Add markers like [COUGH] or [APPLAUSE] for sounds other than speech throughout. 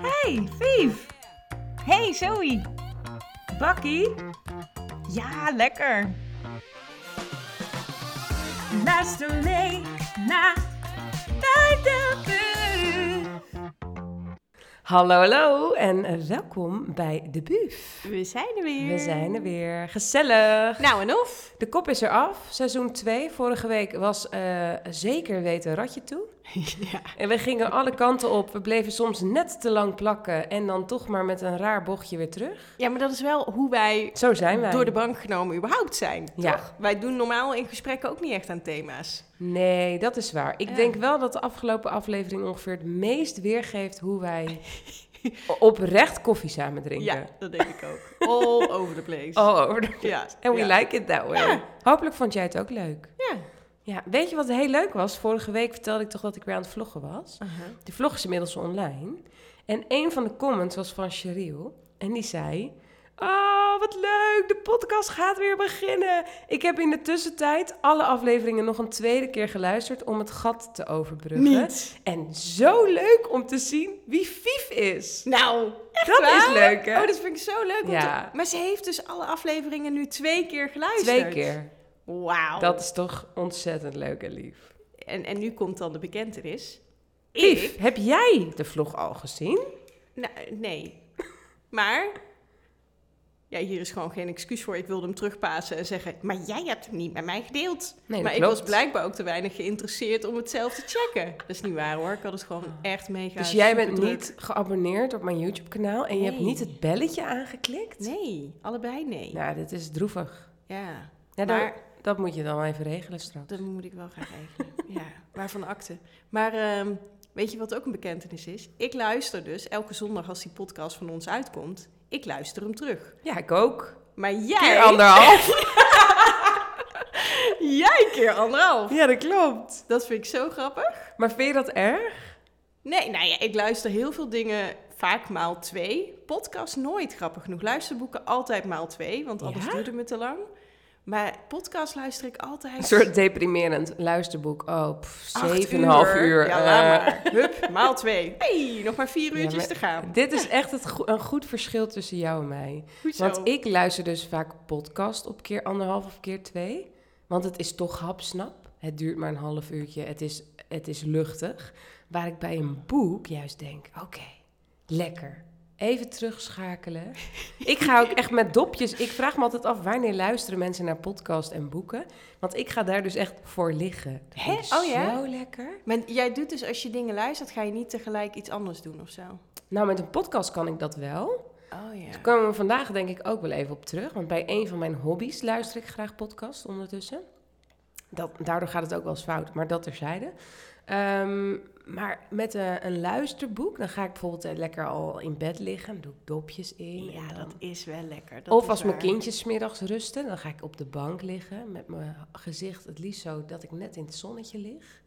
Hey, Vief. Hey, Zoe. Bakkie. Ja, lekker. Luister mee naar Bij de Buurt. Hallo, hallo en eh, welkom bij De Buf. We zijn er weer. We zijn er weer. Gezellig. Nou en of? De kop is eraf, seizoen 2. Vorige week was eh, zeker weten ratje toe. [LAUGHS] ja. En we gingen alle kanten op. We bleven soms net te lang plakken en dan toch maar met een raar bochtje weer terug. ja, maar dat is wel hoe wij Zo zijn wij. door de bank genomen überhaupt zijn, Ja. toch? Wij doen normaal in gesprekken ook niet echt aan thema's. Nee, dat is waar. Ik Ja. denk wel dat de afgelopen aflevering ongeveer het meest weergeeft hoe [LAUGHS] wij oprecht koffie samen drinken. Ja, dat denk ik ook. All over the place. [LAUGHS] Oh, over de Ja. En we ja. like it that way. Hopelijk vond jij het ook leuk. Ja. Ja, weet je wat heel leuk was? Vorige week vertelde ik toch dat ik weer aan het vloggen was. Aha. De vlog is inmiddels online. En een van de comments was van Cheryl. En die zei... Oh, wat leuk! De podcast gaat weer beginnen! Ik heb in de tussentijd alle afleveringen nog een tweede keer geluisterd... om het gat te overbruggen. Niet. En zo leuk om te zien wie Fief is! Nou, dat waar? is leuk, hè? Oh, dat vind ik zo leuk. om Ja. te- Maar ze heeft dus alle afleveringen nu twee keer geluisterd. Twee keer. Wauw. Dat is toch ontzettend leuk en lief. En, en nu komt dan de bekentenis. Lief, Ik? heb jij de vlog al gezien? Nou, nee. Maar... Ja, hier is gewoon geen excuus voor. Ik wilde hem terugpassen en zeggen... Maar jij hebt hem niet met mij gedeeld. maar Nee, dat ik klopt. was blijkbaar ook te weinig geïnteresseerd om het zelf te checken. Dat is niet waar hoor. Ik had het gewoon echt mega Dus jij bent superdruk. niet geabonneerd op mijn YouTube-kanaal en je hebt Nee. niet het belletje aangeklikt? Nee, allebei nee. Ja. Nou, dit is droevig. Ja, dan- Maar- Dat moet je dan even regelen straks. Dat moet ik wel gaan regelen. ja, waarvan akte. Maar ehm, weet je wat ook een bekentenis is? Ik luister dus elke zondag als die podcast van ons uitkomt... Ik luister hem terug. Ja, ik ook. Maar Keer jij... [LAUGHS] anderhalf. Jij keer anderhalf. ja, dat klopt. Dat vind ik zo grappig. Maar vind je dat erg? Nee, nou ja, ik luister heel veel dingen vaak maal twee. Podcast nooit, grappig genoeg. Luisterboeken altijd maal twee, want anders Ja? duurde me te lang. Maar podcast luister ik altijd... Een soort deprimerend luisterboek. Oh, pff, acht 7,5 uur. Ja, eh. laat maar. Hup, maal twee. hey, nog maar vier Ja, uurtjes maar te gaan. Dit is echt het go- een goed verschil tussen jou en mij. Hoezo? Want ik luister dus vaak podcast op keer anderhalf of keer twee. Want het is toch hapsnap. Het duurt maar een half uurtje. Het is, het is luchtig. Waar ik bij een boek juist denk, oké, lekker. Even [LAUGHS] terugschakelen. Ik ga ook echt met dopjes. Ik vraag me altijd af, wanneer luisteren mensen naar podcast en boeken? Want ik ga daar dus echt voor liggen. Dat Hè? vind ik Oh ja? Zo lekker. Maar jij doet dus, als je dingen luistert, ga je niet tegelijk iets anders doen of zo? Nou, met een podcast kan ik dat wel. Oh ja. Daar komen we vandaag denk ik ook wel even op terug. Want bij een van mijn hobby's luister ik graag podcast ondertussen. Dat, daardoor gaat het ook wel eens fout, maar dat terzijde. Ehm, maar met eh, een luisterboek, dan ga ik bijvoorbeeld eh, lekker al in bed liggen. Dan doe ik dopjes in. Ja, en dan- dat is wel lekker. Dat of is als mijn waar. kindjes 's middags rusten, dan ga ik op de bank liggen. Met mijn gezicht het liefst zo dat ik net in het zonnetje lig.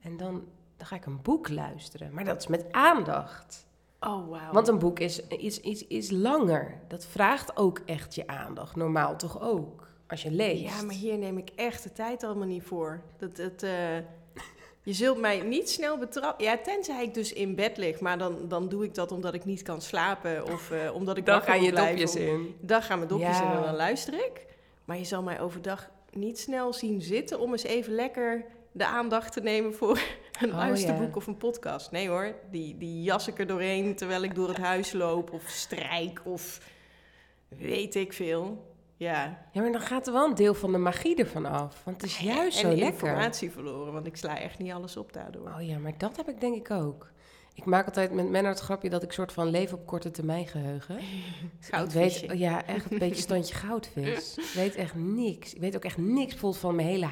En dan, dan ga ik een boek luisteren. Maar dat is met aandacht. Oh, wauw. Want een boek is, is, is, is langer. Dat vraagt ook echt je aandacht. Normaal toch ook? Als je leest. Ja, maar hier neem ik echt de tijd allemaal niet voor. Dat, dat, eh, je zult mij niet snel betrappen. Ja, tenzij ik dus in bed lig. Maar dan, dan doe ik dat omdat ik niet kan slapen. Of eh, omdat ik dan wakker gaan moet je blijven. dopjes in. Dan gaan mijn dopjes Ja. in en dan luister ik. Maar je zal mij overdag niet snel zien zitten... om eens even lekker de aandacht te nemen voor [LAUGHS] een Oh, luisterboek ja. of een podcast. Nee hoor, die, die jas ik er doorheen terwijl ik door het huis loop. Of strijk of weet ik veel. Ja, Ja, maar dan gaat er wel een deel van de magie ervan af. Want het is juist en zo de lekker. informatie verloren, want ik sla echt niet alles op daardoor. Oh ja, maar dat heb ik denk ik ook. Ik maak altijd met Menno het grapje dat ik soort van leef op korte termijn geheugen. Ik weet, oh, Goudvisje. ja, echt een beetje standje [LAUGHS] goudvis. Ik weet echt niks. Ik weet ook echt niks bijvoorbeeld van mijn hele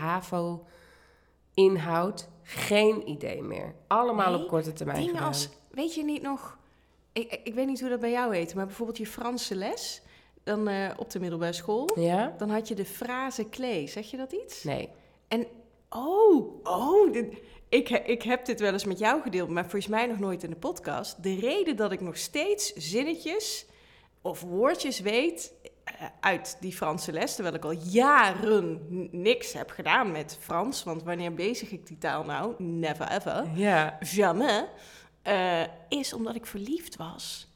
HAVO-inhoud. Geen idee meer. Allemaal Nee, op korte termijn Dingen gedaan. als, weet je niet nog... Ik, ik ik weet niet hoe dat bij jou heet, maar bijvoorbeeld je Franse les... dan eh, op de middelbare school... Ja? dan had je de frase klee. Zeg je dat iets? Nee. Oh, oh. dit- ik, he- ik heb dit wel eens met jou gedeeld, maar volgens mij nog nooit in de podcast. De reden dat ik nog steeds zinnetjes of woordjes weet eh, uit die Franse les, terwijl ik al jaren n- niks heb gedaan met Frans, want wanneer bezig ik die taal nou? Never ever. Ja. Jamais. eh, is omdat ik verliefd was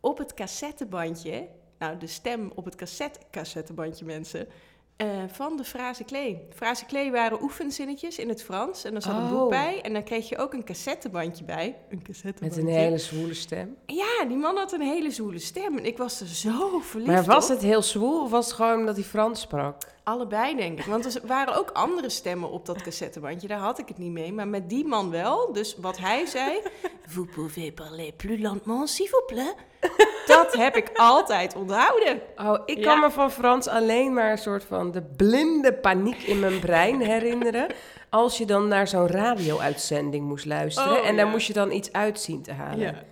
op het cassettebandje. Nou, de stem op het cassette, cassettebandje, mensen. eh, van de frase klee. Frase klee waren oefenzinnetjes in het Frans. En daar zat een Oh. boek bij. En dan kreeg je ook een cassettebandje bij. Een Met cassettebandje. een hele zwoele stem. Ja, die man had een hele zoele stem. En ik was er zo verliefd Maar was op. het heel zwoel of was het gewoon omdat hij Frans sprak? Allebei, denk ik. Want er waren ook andere stemmen op dat cassettebandje. Daar had ik het niet mee. Maar met die man wel. Dus wat hij [LAUGHS] zei... Vous pouvez parler plus lentement, s'il vous plaît. Dat heb ik altijd onthouden. Oh, ik Ja. kan me van Frans alleen maar een soort van de blinde paniek in mijn [LAUGHS] brein herinneren. Als je dan naar zo'n radio-uitzending moest luisteren. Oh, en daar ja. moest je dan iets uit zien te halen.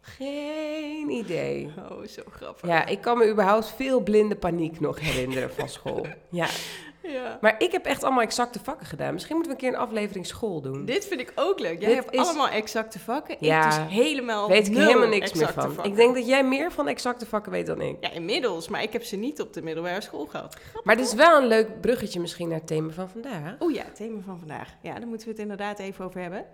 Geen idee. Oh, zo grappig. Ja, ik kan me überhaupt veel blinde paniek nog herinneren van [LAUGHS] school. Ja. Ja. Maar ik heb echt allemaal exacte vakken gedaan. Misschien moeten we een keer een aflevering school doen. Dit vind ik ook leuk. Jij Dit hebt is- allemaal exacte vakken. Ja. Ik dus helemaal weet ik nul helemaal niks meer exacte van. vakken. Ik denk dat jij meer van exacte vakken weet dan ik. Ja, inmiddels. Maar ik heb ze niet op de middelbare school gehad. Maar dit is wel een leuk bruggetje misschien naar het thema van vandaag. Oh ja, het thema van vandaag. Ja, daar moeten we het inderdaad even over hebben.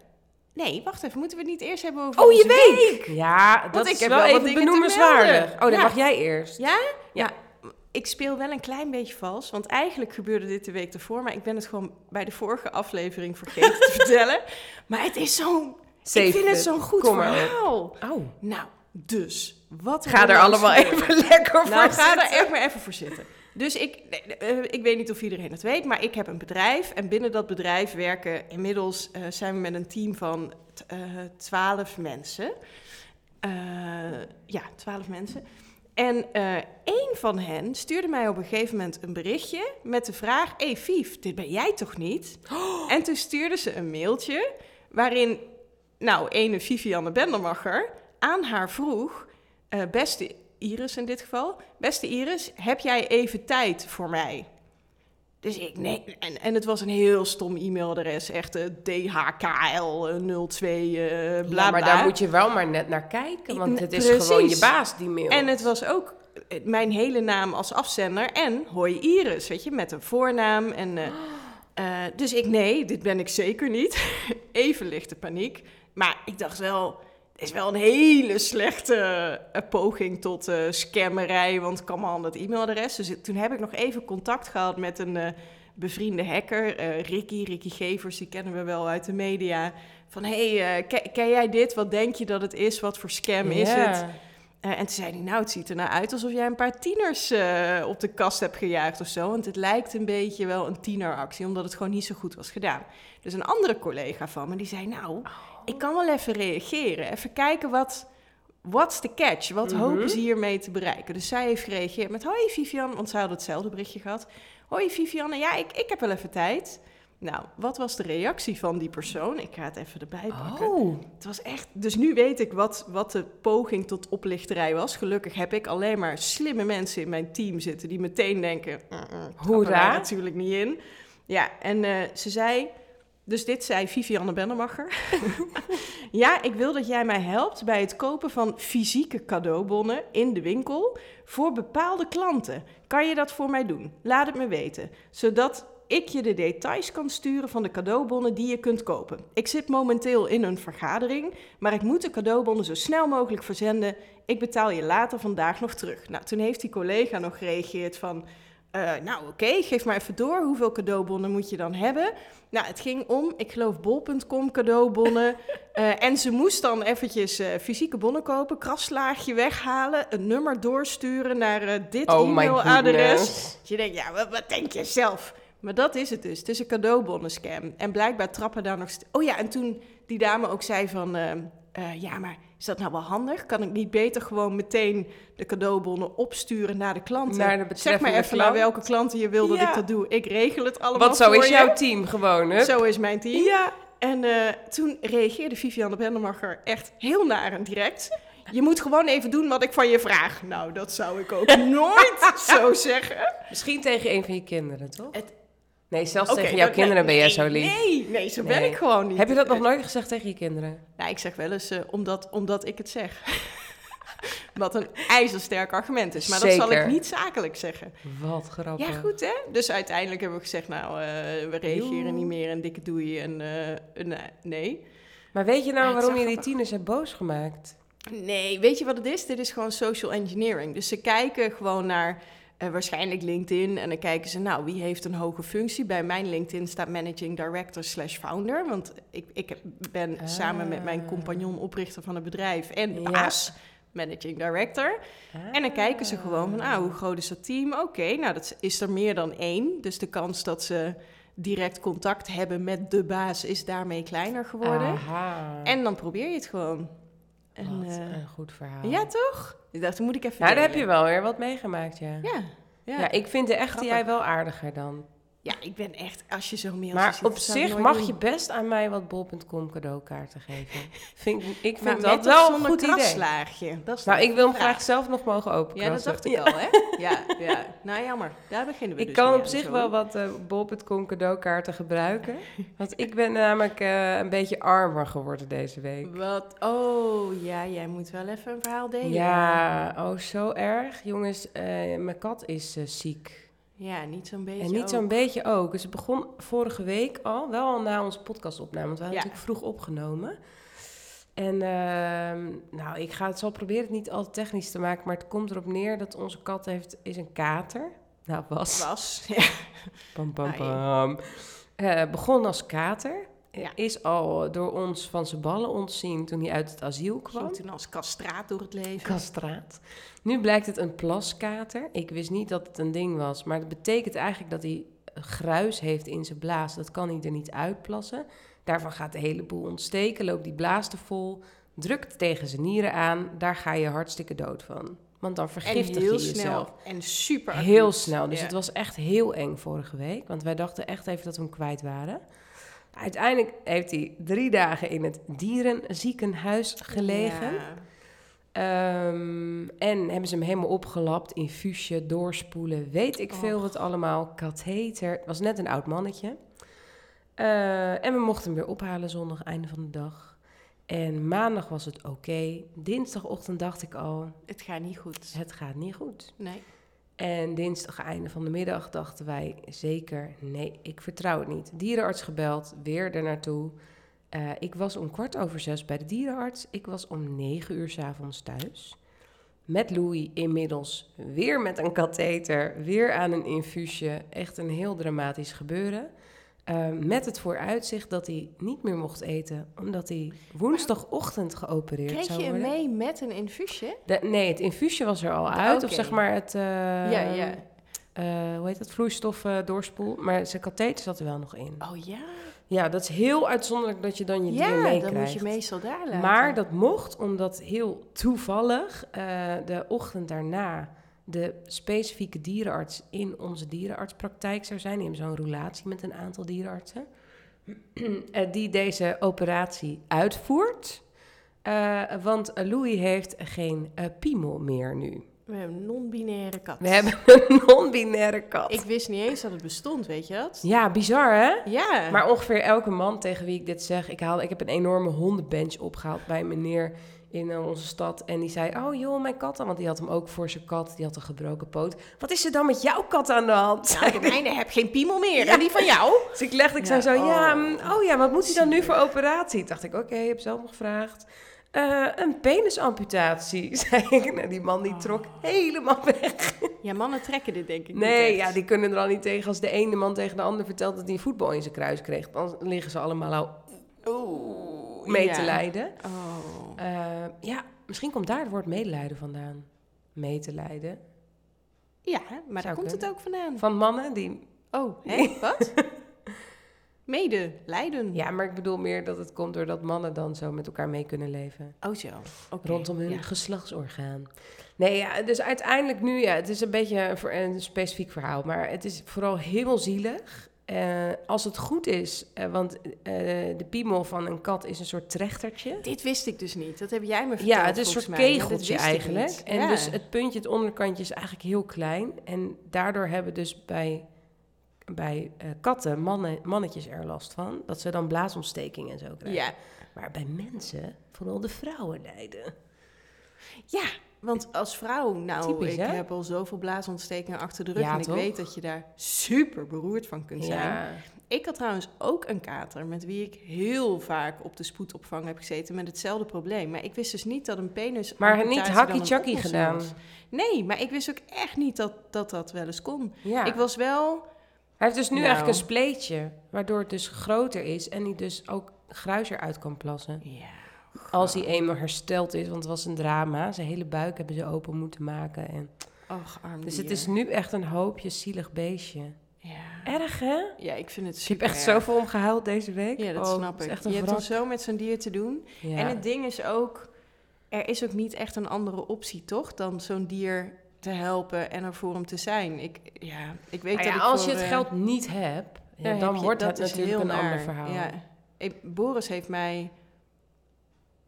Nee, wacht even. Moeten we het niet eerst hebben over Oh, je onze weet! Ja, dat ik is heb wel wel wat even dingen te benoemenswaardig. melden. Oh, dan Ja. mag jij eerst. Ja? Ja. Nou, ik speel wel een klein beetje vals, want eigenlijk gebeurde dit de week ervoor, maar ik ben het gewoon bij de vorige aflevering vergeten [LAUGHS] te vertellen. Maar het is zo'n. Save ik vind het it. zo'n goed Kom maar op. verhaal. Oh. Nou, dus wat Ga nou er allemaal gebeurd? even [LAUGHS] lekker voor Nou, ga zitten. er echt maar even voor zitten. Dus ik, nee, eh, ik weet niet of iedereen het weet, maar ik heb een bedrijf. En binnen dat bedrijf werken inmiddels eh, zijn we met een team van eh, twaalf mensen. Eh, ja, twaalf mensen. En eh, één van hen stuurde mij op een gegeven moment een berichtje met de vraag... hey, Fief, dit ben jij toch [GASPS] niet? En toen stuurde ze een mailtje waarin, nou, ene Vivianne Bendermacher aan haar vroeg... eh, beste Iris in dit geval. Beste Iris, heb jij even tijd voor mij? Dus ik, nee. En, en het was een heel stom e-mailadres. Echt eh, DHKL02, eh bla Ja, bla. maar daar moet je wel maar net naar kijken, want Nee, het is precies. gewoon je baas die mail. En het was ook eh, mijn hele naam als afzender en Hoi Iris, weet je, met een voornaam. En, eh, eh, dus ik, nee, dit ben ik zeker niet. [LAUGHS] Even lichte paniek. Maar ik dacht wel, het is wel een hele slechte eh, poging tot eh, scammerij, want kan maar aan dat e-mailadres. Dus ik- toen heb ik nog even contact gehad met een eh, bevriende hacker, eh, Ricky, Ricky Gevers, die kennen we wel uit de media. Van, hé, hey, eh, ke- ken jij dit? Wat denk je dat het is? Wat voor scam is Ja. het? Eh, en toen zei hij, nou, het ziet er nou uit alsof jij een paar tieners eh, op de kast hebt gejaagd of zo. Want het lijkt een beetje wel een tieneractie, omdat het gewoon niet zo goed was gedaan. Dus een andere collega van me, die zei, nou, ik kan wel even reageren. Even kijken wat, what's the catch? Wat Mhm. hopen ze hiermee te bereiken? Dus zij heeft gereageerd met, hoi Vivian, want zij had hetzelfde berichtje gehad. Hoi Vivianne, ja, ik, ik heb wel even tijd. Nou, wat was de reactie van die persoon? Ik ga het even erbij pakken. Oh, Het was echt. Dus nu weet ik wat, wat de poging tot oplichterij was. Gelukkig heb ik alleen maar slimme mensen in mijn team zitten die meteen denken: "Mm, mm, trappen Hoera." wij natuurlijk niet in. Ja, en eh, ze zei. Dus dit zei Vivianne Bennemacher. [LAUGHS] ja, ik wil dat jij mij helpt bij het kopen van fysieke cadeaubonnen in de winkel voor bepaalde klanten. Kan je dat voor mij doen? Laat het me weten, zodat ik je de details kan sturen van de cadeaubonnen die je kunt kopen. Ik zit momenteel in een vergadering, maar ik moet de cadeaubonnen zo snel mogelijk verzenden. Ik betaal je later vandaag nog terug. Nou, toen heeft die collega nog gereageerd van... eh, nou oké, geef maar even door. Hoeveel cadeaubonnen moet je dan hebben? Nou, het ging om, ik geloof, bol.com [LAUGHS] cadeaubonnen. Eh, en ze moest dan eventjes eh, fysieke bonnen kopen, kraslaagje weghalen, een nummer doorsturen naar eh, dit oh my e-mailadres. goodness. Dus je denkt, ja, wat, wat denk je zelf? Maar dat is het dus. Het is een cadeaubonnenscam. En blijkbaar trappen daar nog... st- Oh ja, en toen die dame ook zei van... ehm, eh, ja, maar is dat nou wel handig? Kan ik niet beter gewoon meteen de cadeaubonnen opsturen naar de klanten? Naar zeg maar de betreffende even naar klant. welke klanten je wil dat Ja. ik dat doe. Ik regel het allemaal Want zo voor is je. jouw team gewoon, hè? Zo is mijn team. Ja. En eh, toen reageerde Viviane Bennemacher echt heel naar en direct. Je moet gewoon even doen wat ik van je vraag. Nou, dat zou ik [LAUGHS] ook nooit zo zeggen. Misschien tegen een van je kinderen, toch? Het- Nee, zelfs Oké, tegen jouw dat- kinderen ben nee, jij zo lief. Nee, nee, zo ben Nee. ik gewoon niet. Heb je dat nog Eh, nooit gezegd tegen je kinderen? Nou, ik zeg wel eens eh, omdat, omdat ik het zeg. [LAUGHS] Wat een ijzersterk argument is. Maar dat zal Zeker. ik niet zakelijk zeggen. Wat grappig. Ja, goed hè? Dus uiteindelijk hebben we gezegd, nou, eh, we reageren Joe. niet meer en dikke doei en eh, eh, nee. Maar Maar weet je nou Ja, het is waarom wel je die grappig. tieners hebt boos gemaakt? Nee, weet je wat het is? Dit is gewoon social engineering. Dus ze kijken gewoon naar eh, waarschijnlijk LinkedIn en dan kijken ze, nou, wie heeft een hoge functie? Bij mijn LinkedIn staat managing director slash founder, want ik, ik heb- ben Ah. samen met mijn compagnon oprichter van het bedrijf en Ja. baas, managing director. En dan kijken ze gewoon van, nou, hoe groot is dat team? Oké, nou, dat is er meer dan één. Dus de kans dat ze direct contact hebben met de baas is daarmee kleiner geworden. Aha. En dan probeer je het gewoon. En, Ah. Wat eh, een goed verhaal. ja, toch? Ik dacht, dat moet ik even. nou, daar heb je delen. wel weer wat meegemaakt, ja. Ja, Ja, ja. ik, ik vind de echte Grappig. jij wel aardiger dan. ja, ik ben echt, als je zo'n mail Maar op zich mag je best aan mij wat bol.com cadeaukaarten geven. [LAUGHS] vind, ik- ik vind dat wel een goed idee. Slaagje. Dat is Nou, de ik wil hem vraag. graag zelf nog mogen openen. Ja, dat dacht ik al, hè? [LAUGHS] Ja, ja. Nou, jammer. Daar beginnen we Ik dus kan mee op aan, zich zo. wel wat eh bol.com cadeaukaarten [LAUGHS] gebruiken. Want ik ben namelijk eh, een beetje armer geworden deze week. Wat? Oh, ja, jij moet wel even een verhaal delen. Ja, oh zo erg. Jongens, eh, mijn kat is eh, ziek. Ja, niet zo'n beetje. En niet ook. zo'n beetje ook. Dus het begon vorige week al, wel al na onze podcastopname. Want we hadden Ja. natuurlijk vroeg opgenomen. En ehm, nou, ik ga het zal proberen het niet al te technisch te maken. Maar het komt erop neer dat onze kat heeft, is een kater. Nou, was. was. [LAUGHS] Ja. Pam, pam, Ah, pam. Nou, Eh, begon als kater. Ja. Is al door ons van zijn ballen ontzien toen hij uit het asiel kwam. Ging toen als kastraat door het leven. Kastraat. Nu blijkt het een plaskater. Ik wist niet dat het een ding was. Maar dat betekent eigenlijk dat hij gruis heeft in zijn blaas. Dat kan hij er niet uitplassen. Daarvan gaat de hele boel ontsteken. Loopt die blaas te vol. Drukt tegen zijn nieren aan. Daar ga je hartstikke dood van. Want dan en vergiftig je heel jezelf. snel. En super acuut. Heel snel. Dus Ja. het was echt heel eng vorige week. Want wij dachten echt even dat we hem kwijt waren. Uiteindelijk heeft hij drie dagen in het dierenziekenhuis gelegen. Ja. Ehm, en hebben ze hem helemaal opgelapt, infuusje, doorspoelen, weet ik veel wat allemaal. Katheter, het was net een oud mannetje. Eh, en we mochten hem weer ophalen zondag, einde van de dag. En maandag was het oké. Dinsdagochtend dacht ik al, Het gaat niet goed. het gaat niet goed. Nee. En dinsdag einde van de middag dachten wij zeker, nee, ik vertrouw het niet. Dierenarts gebeld, weer er naartoe. Eh, ik was om kwart over zes bij de dierenarts. Ik was om negen uur s'avonds thuis. Met Louis inmiddels weer met een katheter, weer aan een infuusje. Echt een heel dramatisch gebeuren. Eh, met het vooruitzicht dat hij niet meer mocht eten, omdat hij woensdagochtend geopereerd Kreeg zou je hem worden. mee met een infuusje? De- nee, het infuusje was er al uit. Of Ah, oké. zeg maar het... eh, ja, ja. eh, hoe heet dat, vloeistof eh, doorspoel. Maar zijn katheter zat er wel nog in. Oh ja? Ja, dat is heel uitzonderlijk dat je dan je ja, dier dan meekrijgt. moet je meestal daar laten. Maar dat mocht omdat heel toevallig eh, de ochtend daarna de specifieke dierenarts in onze dierenartspraktijk zou zijn. Die hebben zo'n relatie met een aantal dierenartsen. [CLEARS THROAT] eh, die deze operatie uitvoert. Eh, want Louis heeft geen eh, piemel meer nu. We hebben een non-binaire kat. We [LAUGHS] hebben een non-binaire kat. Ik wist niet eens dat het bestond, weet je dat? Ja, bizar hè? Ja. Maar ongeveer elke man tegen wie ik dit zeg, ik, haal, ik heb een enorme hondenbench opgehaald bij een meneer in eh, onze stad. En die zei, oh joh, mijn kat dan. Want die had hem ook voor zijn kat, die had een gebroken poot. Wat is er dan met jouw kat aan de hand? Nou, de mijne heb geen piemel meer. En die van jou? [LAUGHS] Dus ik legde, ik zei Ja, zo, ja, oh. mm, oh ja, wat moet hij dan nu voor operatie? Dacht ik, oké, ik heb zelf nog gevraagd. Eh, een penisamputatie, [LAUGHS] zei ik. Nou, die man die trok Oh. helemaal weg. Ja, mannen trekken dit denk ik Nee, niet ja, echt. die kunnen er al niet tegen als de ene man tegen de ander vertelt dat hij een voetbal in zijn kruis kreeg. Dan liggen ze allemaal al Oeh, mee ja. te lijden. Oh. Eh, ja, misschien komt daar het woord medelijden vandaan. Mee te lijden. Ja, maar daar komt kunnen. het ook vandaan. Van mannen die... Oh, hè? Wat? [LAUGHS] Mede, lijden. Ja, maar ik bedoel meer dat het komt doordat mannen dan zo met elkaar mee kunnen leven. Oh zo, oké. Rondom hun Ja. geslachtsorgaan. Nee, ja, dus uiteindelijk nu, ja, het is een beetje een, ver- een specifiek verhaal. Maar het is vooral heel zielig. Eh, als het goed is, eh, want eh, de piemel van een kat is een soort trechtertje. Dit wist ik dus niet. Dat heb jij me verteld Ja, het is een volgens soort mij, maar dit kegeltje wist ik eigenlijk. niet. En Ja. dus het puntje, het onderkantje is eigenlijk heel klein. En daardoor hebben dus bij, bij eh, katten mannen, mannetjes er last van. Dat ze dan blaasontsteking en zo krijgen. Ja. Maar bij mensen, vooral de vrouwen lijden. Ja, want als vrouw, nou, Typisch, ik hè? heb al zoveel blaasontstekingen achter de rug. Ja, en ik toch? weet dat je daar super beroerd van kunt zijn. Ik had trouwens ook een kater met wie ik heel vaak op de spoedopvang heb gezeten met hetzelfde probleem. Maar ik wist dus niet dat een penis. Maar niet hakkie hakkie chakkie gedaan. Nee, maar ik wist ook echt niet dat dat, dat wel eens kon. Ja. Ik was wel. Hij heeft dus nu Nou. eigenlijk een spleetje, waardoor het dus groter is en hij dus ook gruis eruit kan plassen. Ja. Als hij eenmaal hersteld is, want het was een drama. Zijn hele buik hebben ze open moeten maken. En... Och, arm Dus het dier. is nu echt een hoopje zielig beestje. Ja. Erg, hè? ja, ik vind het Ik super. heb Dus echt erg. zoveel omgehuild deze week. Ja, dat Oh, snap het is ik. Echt Je een hebt dan wrak. zo met zo'n dier te doen. Ja. En het ding is ook, er is ook niet echt een andere optie, toch? Dan zo'n dier te helpen en er voor hem te zijn. Ik, ja, ik weet Nou dat ja, ik als voor, je het eh, geld niet hebt, ja, heb dan je- wordt dat het is natuurlijk heel een ander naar. verhaal. Ja. Ik- Boris heeft mij...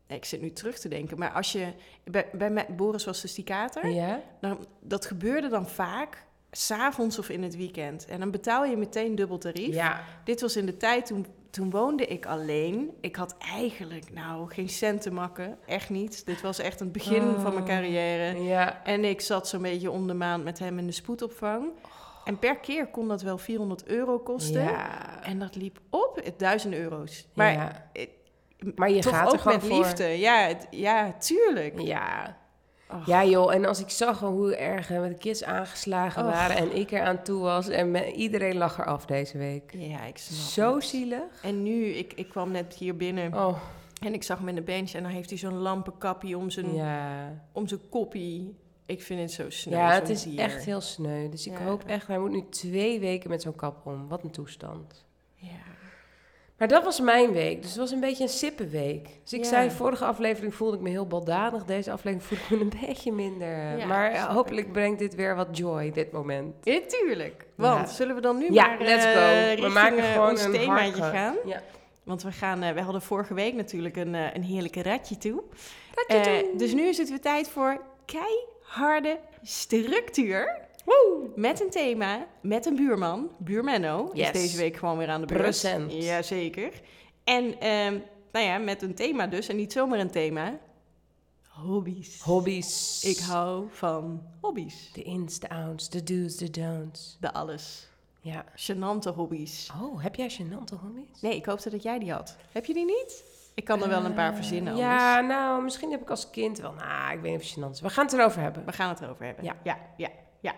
Nee, Ik zit nu terug te denken, maar als je... Bij, bij mij- Boris was dus die kater. Ja? Dan, dat gebeurde dan vaak s'avonds of in het weekend. En dan betaal je meteen dubbel tarief. Ja. Dit was in de tijd toen, toen woonde ik alleen. Ik had eigenlijk nou geen cent te makken. Echt niet. Dit was echt het begin Oh. van mijn carrière. ja. En ik zat zo'n beetje om de maand met hem in de spoedopvang. En per keer kon dat wel 400 euro kosten. Oh. Ja. En dat liep op, eh, 1000 euro's. Maar Ja. eh, Maar je toch gaat ook er gewoon met voor. liefde. Ja, het- ja, tuurlijk. Ja. Och. Ja joh, en als ik zag hoe erg hè, met de kids aangeslagen Och. waren en ik er aan toe was en me- iedereen lag er af deze week. Ja, ik snap Zo het. zielig. En nu, ik, ik kwam net hier binnen Oh, en ik zag hem in de bench. En dan heeft hij zo'n lampenkappie om zijn, ja. om zijn koppie. Ik vind het zo snel. Ja, het is echt heel sneu. Dus ik Ja. hoop echt, hij moet nu twee weken met zo'n kap om. Wat een toestand. Ja. Maar dat was mijn week, dus het was een beetje een sippenweek. Dus ik Ja. zei, vorige aflevering voelde ik me heel baldadig, deze aflevering voelde ik me een [LAUGHS] beetje minder. Ja, maar eh, snap hopelijk brengt dit weer wat joy, dit moment. Ja, tuurlijk. Want Ja. zullen we dan nu ja, maar let's eh, go. richting We maken eh, gewoon ons een themaatje hardcore. gaan? Ja. Want we, gaan, eh, we hadden vorige week natuurlijk een, eh, een heerlijke ratje toe. Ratje Eh, toe. Dus nu is het weer tijd voor keiharde structuur. Met een thema, met een buurman. Buurmenno Yes. is deze week gewoon weer aan de beurt. Present. Jazeker. En ehm, nou ja, met een thema dus. En niet zomaar een thema. Hobby's. Hobby's. Ik hou van hobby's. De ins, de outs, de do's, de don'ts. De alles. Ja. Genante hobby's. Oh, heb jij genante hobby's? Nee, ik hoopte dat jij die had. Heb je die niet? Ik kan er wel een paar verzinnen. anders. Eh, Ja, nou, misschien heb ik als kind wel... Nou, ik weet niet of het gênant is. We gaan het erover hebben. We gaan het erover hebben. Ja. ja, ja, ja.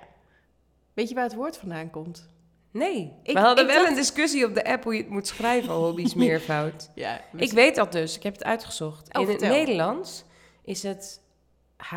Weet je waar het woord vandaan komt? Nee, Ik- we hadden ik wel dacht- een discussie op de app hoe je het moet schrijven, [LAUGHS] hobby's, meervoud. Ja. Ik weet dat dus, ik heb het uitgezocht. Oh, In het vertel. Nederlands is het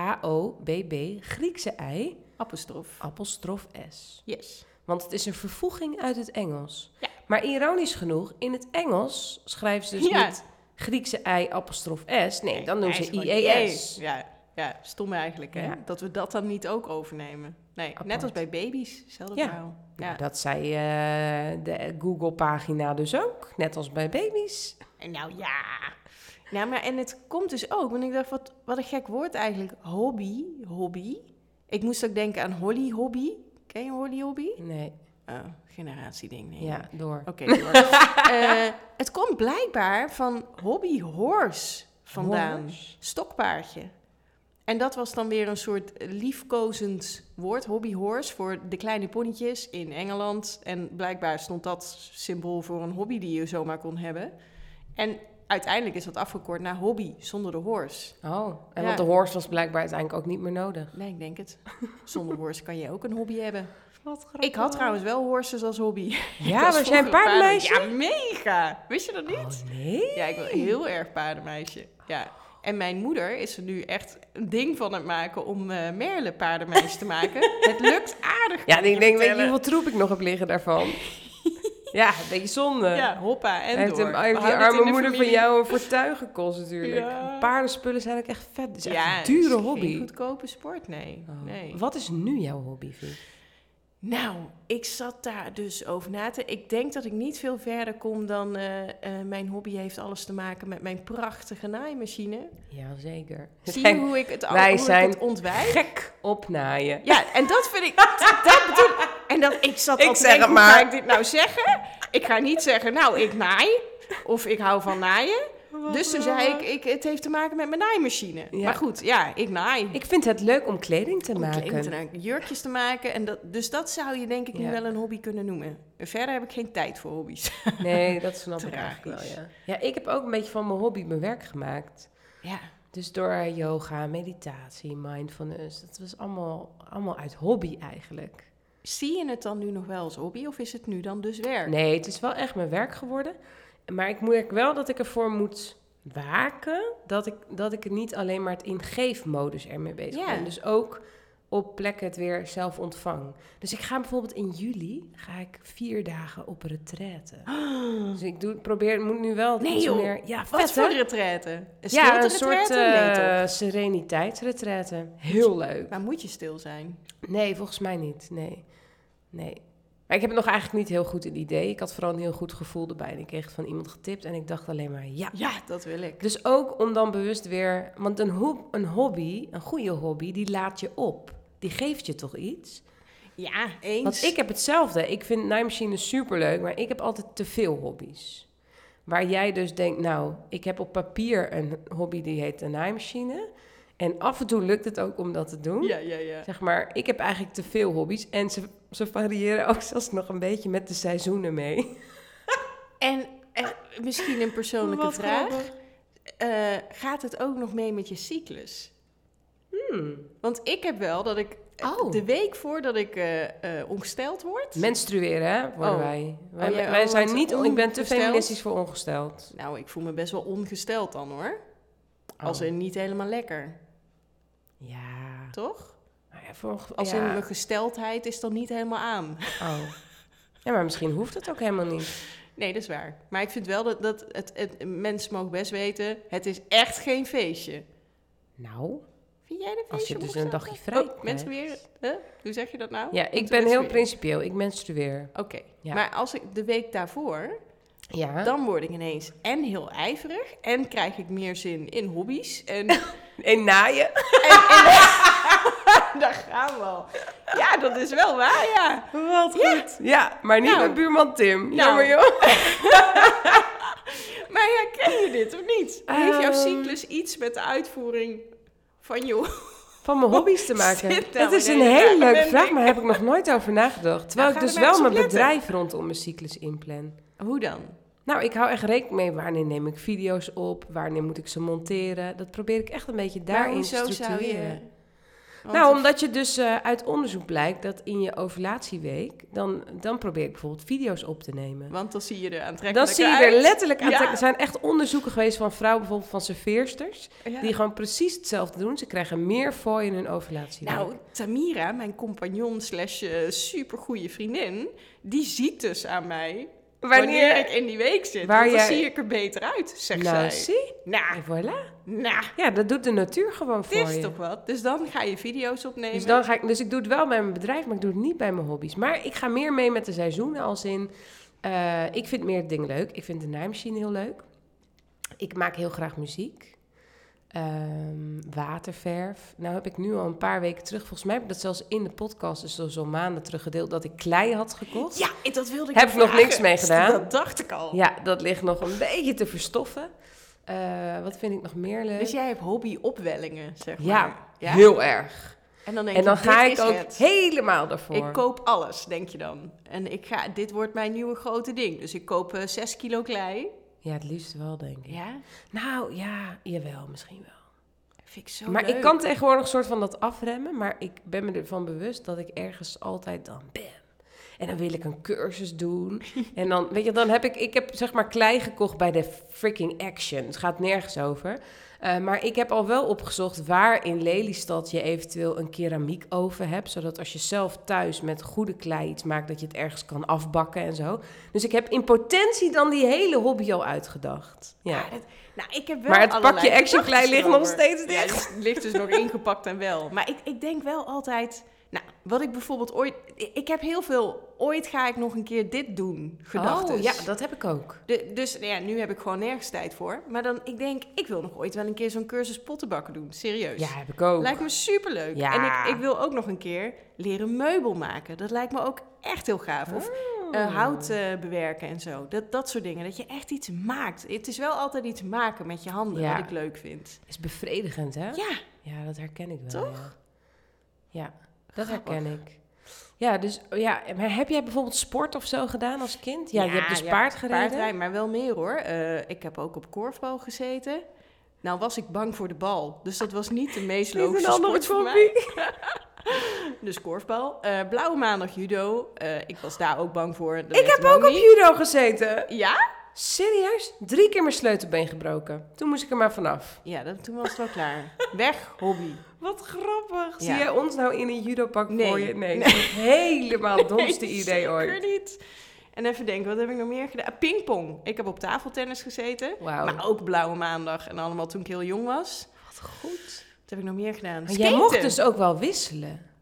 H-O-B-B, Griekse ei, Apostrof. apostrof S. Yes. Want het is een vervoeging uit het Engels. Ja. Maar ironisch genoeg, in het Engels schrijven [LAUGHS] ze dus Ja. niet Griekse ei, apostrof S. Nee, dan doen ze E Eigenlijk- IES. Nee. Ja, ja, stom eigenlijk hè. Ja. Dat we dat dan niet ook overnemen. Nee, net Apart. als bij baby's. Hetzelfde Ja. verhaal. Ja. Nou, dat zei eh, de Google-pagina dus ook, net als bij baby's. En nou ja. Nou, maar en het komt dus ook, want ik dacht, wat, wat een gek woord eigenlijk. Hobby, hobby. Ik moest ook denken aan holly hobby. Ken je holly hobby? Nee, Oh, generatieding. Nee. ja, door. Oké, door. [LAUGHS] Eh, het komt blijkbaar van hobby horse vandaan. Horse? Stokpaardje. En dat was dan weer een soort liefkozend woord, hobby horse, voor de kleine ponnetjes in Engeland. En blijkbaar stond dat symbool voor een hobby die je zomaar kon hebben. En uiteindelijk is dat afgekort naar hobby zonder de horse. Oh, en Ja. want de horse was blijkbaar uiteindelijk ook niet meer nodig. Nee, ik denk [LAUGHS] het. Zonder horse kan je ook een hobby hebben. Wat grappig. Ik had trouwens wel horses als hobby. Ja, was was jij een vroeger paardenmeisje? Ja, mega. Wist je dat niet? Oh, nee? Ja, ik was heel erg paardenmeisje. Ja. En mijn moeder is er nu echt een ding van aan het maken om eh Merle paardenmeisje te [LAUGHS] maken. Het lukt aardig. Ja, kan en ik denk, weet je vertellen. hoeveel troep ik nog heb liggen [LAUGHS] daarvan? ja, een beetje zonde. Ja, hoppa en Hij heeft, door. hem- We hij heeft die houden het in arme de moeder van familie. jou een fortuin gekost natuurlijk. Ja. Paardenspullen zijn ook echt vet. Het is echt Ja, een het dure is Geen hobby. goedkope sport, nee. Oh. nee. Wat is nu jouw hobby, Vic? Nou, ik zat daar dus over na te... Ik denk dat ik niet veel verder kom dan... eh, eh, mijn hobby heeft alles te maken met mijn prachtige naaimachine. Jazeker. Zie je hoe ik het, al- wij hoe ik zijn het ontwijk? Gek opnaaien. Ja, en dat vind ik. Dat, dat bedoel En dat ik zat. Ik al te zeg denken, het hoe maar. Ga ik dit nou zeggen? Ik ga niet zeggen, nou, ik naai. Of ik hou van naaien. wat, Dus toen eh, zei ik, ik, het heeft te maken met mijn naaimachine. Ja. Maar goed, ja, ik naai. Ik vind het leuk om kleding te Om maken. kleding te maken, jurkjes te maken. En dat, dus dat zou je denk ik Ja. nu wel een hobby kunnen noemen. En Verder heb ik geen tijd voor hobby's. [LAUGHS] Nee, dat snap ik eigenlijk wel, Tragisch. ja. Ja, ik heb ook een beetje van mijn hobby mijn werk gemaakt. Ja, Dus door yoga, meditatie, mindfulness, dat was allemaal, allemaal uit hobby eigenlijk. zie je het dan nu nog wel als hobby of is het nu dan dus werk? Nee, het is wel echt mijn werk geworden. Maar ik merk wel dat ik ervoor moet waken dat ik, dat ik het niet alleen maar het ingeefmodus ermee bezig Ja. ben. Dus ook op plekken het weer zelf ontvang. Dus ik ga bijvoorbeeld in juli ga ik vier dagen [GASPS] op retraite. Dus ik doe, probeer, moet nu wel Nee, iets joh. meer... Ja, Wat vet, voor hè? retraite? Een Ja, stilte een soort Nee, toch? eh sereniteitsretraite. Heel leuk. Maar moet je stil zijn? Nee, volgens mij niet. Nee. Nee. Maar ik heb nog eigenlijk niet heel goed een idee. Ik had vooral een heel goed gevoel erbij. En ik kreeg het van iemand getipt en ik dacht alleen maar ja. Ja, dat wil ik. Dus ook om dan bewust weer... Want een, ho- een hobby, een goede hobby, die laat je op. Die geeft je toch iets? Ja, eens. Want ik heb hetzelfde. Ik vind naaimachines superleuk, maar ik heb altijd te veel hobby's. Waar jij dus denkt, nou, ik heb op papier een hobby die heet een naaimachine. En af en toe lukt het ook om dat te doen. Ja, ja, ja. Zeg maar, ik heb eigenlijk te veel hobby's. En ze, ze variëren ook zelfs nog een beetje met de seizoenen mee. En eh, misschien een persoonlijke Wat vraag. grappig. Eh, gaat het ook nog mee met je cyclus? Hmm. Want ik heb wel dat ik eh, Oh. de week voordat ik eh, eh, ongesteld word. Menstrueren, hè, worden Oh. wij. Wij, Oh, jij- wij oh, zijn wat niet... Ik ben te ongesteld. feministisch voor ongesteld. Nou, ik voel me best wel ongesteld dan hoor. Als Oh. in niet helemaal lekker, Ja. toch? Nou ja, voor onge- Als in ja. mijn gesteldheid is dan niet helemaal aan. [LAUGHS] Oh. Ja, maar misschien hoeft het ook helemaal niet. Nee, dat is waar. Maar ik vind wel dat, dat het, het, mensen mogen best weten, het is echt geen feestje. Nou... Oh, Vind jij dat feestje? Als je om dus ongesteld een dagje te- vrij Oh, mensen weer, krijgt. hè? hoe zeg je dat nou? Ja, ik Moeten ben mensen heel weer- principieel. Ik menstrueer. Oké, Ja. maar als ik de week daarvoor, Ja. dan word ik ineens en heel ijverig en krijg ik meer zin in hobby's. [LAUGHS] En, [LAUGHS] En naaien. daar gaan we al. Ja, dat is wel waar, ja. Wat goed. Ja, maar niet Nou. mijn buurman Nou. Tim. Jammer joh. Maar ja, ken je dit of niet? Heeft jouw Ehm. cyclus iets met de uitvoering van [LAUGHS] je... Van mijn [LAUGHS] hobby's te maken. Oh, Zit nou Dat is een ineens hele daar, leuke ben vraag, ik. maar heb ik nog nooit over nagedacht. Terwijl ga ik er dus maar eens wel op mijn letten. bedrijf rondom mijn cyclus inplan. Hoe dan? Nou, ik hou echt rekening mee wanneer neem ik video's op, wanneer moet ik ze monteren. Dat probeer ik echt een beetje daarin te zo structureren. zou je... Want Nou, het- omdat je dus eh, uit onderzoek blijkt dat in je ovulatieweek, dan, dan probeer ik bijvoorbeeld video's op te nemen. Want dan zie je er Dan aantrekkelijk zie je er uit. letterlijk aan. Ja. Er zijn echt onderzoeken geweest van vrouwen, bijvoorbeeld van serveersters, Ja. die gewoon precies hetzelfde doen. Ze krijgen meer fooi in hun ovulatie. Nou, Tamira, mijn compagnon slash eh, supergoeie vriendin, die ziet dus aan mij wanneer, ik in die week zit. Waar want dan jij- zie ik er beter uit, zegt Nou, zij. zie. Nou, En voilà. nou, Ja, dat doet de natuur gewoon het voor is je. toch wat? Dus dan ga je video's opnemen. dus, dan ga ik, dus ik doe het wel bij mijn bedrijf, maar ik doe het niet bij mijn hobby's. Maar ik ga meer mee met de seizoenen als in... eh, ik vind meer dingen leuk. Ik vind de naaimachine heel leuk. Ik maak heel graag muziek. Ehm, waterverf. Nou heb ik nu al een paar weken terug... Volgens mij heb ik dat zelfs in de podcast, dus al zo'n maanden terug gedeeld... dat ik klei had gekocht. Ja, ik- dat wilde ik Heb je ik nog vragen. niks [LAUGHS] mee gedaan? Dat dacht ik al. Ja, dat ligt nog een beetje te verstoffen. Eh, wat vind ik nog meer leuk? Dus jij hebt hobby-opwellingen, zeg maar. ja, heel erg. En dan, denk En dan je, ga dit ik is ook het. helemaal daarvoor. Ik koop alles, denk je dan. En ik ga, dit wordt mijn nieuwe grote ding. Dus ik koop eh 6 kilo klei. Ja, het liefst wel, denk ik. Ja, Nou ja, jawel, misschien wel. vind ik zo maar ik Oh, leuk. kan tegenwoordig een soort van dat afremmen. Maar ik ben me ervan bewust dat ik ergens altijd dan ben. En dan wil ik een cursus [LAUGHS] doen. En dan, weet je, dan heb ik, ik heb zeg maar klei gekocht bij de freaking action. Het gaat nergens over. Eh, maar ik heb al wel opgezocht waar in Lelystad je eventueel een keramiek oven hebt. Zodat als je zelf thuis met goede klei iets maakt, dat je het ergens kan afbakken en zo. Dus ik heb in potentie dan die hele hobby al uitgedacht. Ja. Ja, dat- nou, ik heb wel Maar het pakje allerlei Action gedachtes Klein ligt nog erover. steeds Ja, dicht. het ligt dus nog ingepakt en wel. Maar ik, ik denk wel altijd... Nou, wat ik bijvoorbeeld ooit... Ik ik heb heel veel... Ooit ga ik nog een keer dit doen, gedachten. Oh, ja, dat heb ik ook. De- dus nou ja, nu heb ik gewoon nergens tijd voor. Maar dan, ik denk, ik wil nog ooit wel een keer zo'n cursus pottenbakken doen. Serieus. Ja, heb ik ook. Lijkt me superleuk. Ja. En ik, ik wil ook nog een keer leren meubel maken. Dat lijkt me ook echt heel gaaf. Of Oh. eh, hout eh, bewerken en zo. Dat, dat soort dingen. Dat je echt iets maakt. Het is wel altijd iets maken met je handen, Ja. wat ik leuk vind. Is bevredigend, hè? Ja, Ja, dat herken ik wel. Toch? Ja, Ja, dat herken ik. Ja, dus ja, maar heb jij bijvoorbeeld sport of zo gedaan als kind? Ja, je hebt dus paard gereden. paardrijden, maar wel meer hoor. Eh, ik heb ook op korfbal gezeten. Nou was ik bang voor de bal. Dus dat was niet de meest Dit [LAUGHS] is een logische andere sport voor mij. [LAUGHS] [LAUGHS] dus korfbal. Eh, Blauwe maandag judo. Eh, ik was daar ook bang voor. Dat Ik werd heb hem ook op niet. judo gezeten. Ja? Serieus? Drie keer mijn sleutelbeen gebroken. Toen moest ik er maar vanaf. Ja, dat, toen was het wel [LAUGHS] klaar. Weg, hobby. Wat grappig. Zie Ja. jij ons nou in een judopak Nee. voor je? Nee, dat is helemaal het [LAUGHS] domste Nee, idee Zeker ooit. niet. En even denken, wat heb ik nog meer gedaan? Ah, Pingpong. Ik heb op tafeltennis gezeten. Wauw. Maar ook Blauwe Maandag en allemaal toen ik heel jong was. Wat goed. Wat heb ik nog meer gedaan? Maar jij Skaten. mocht dus ook wel wisselen.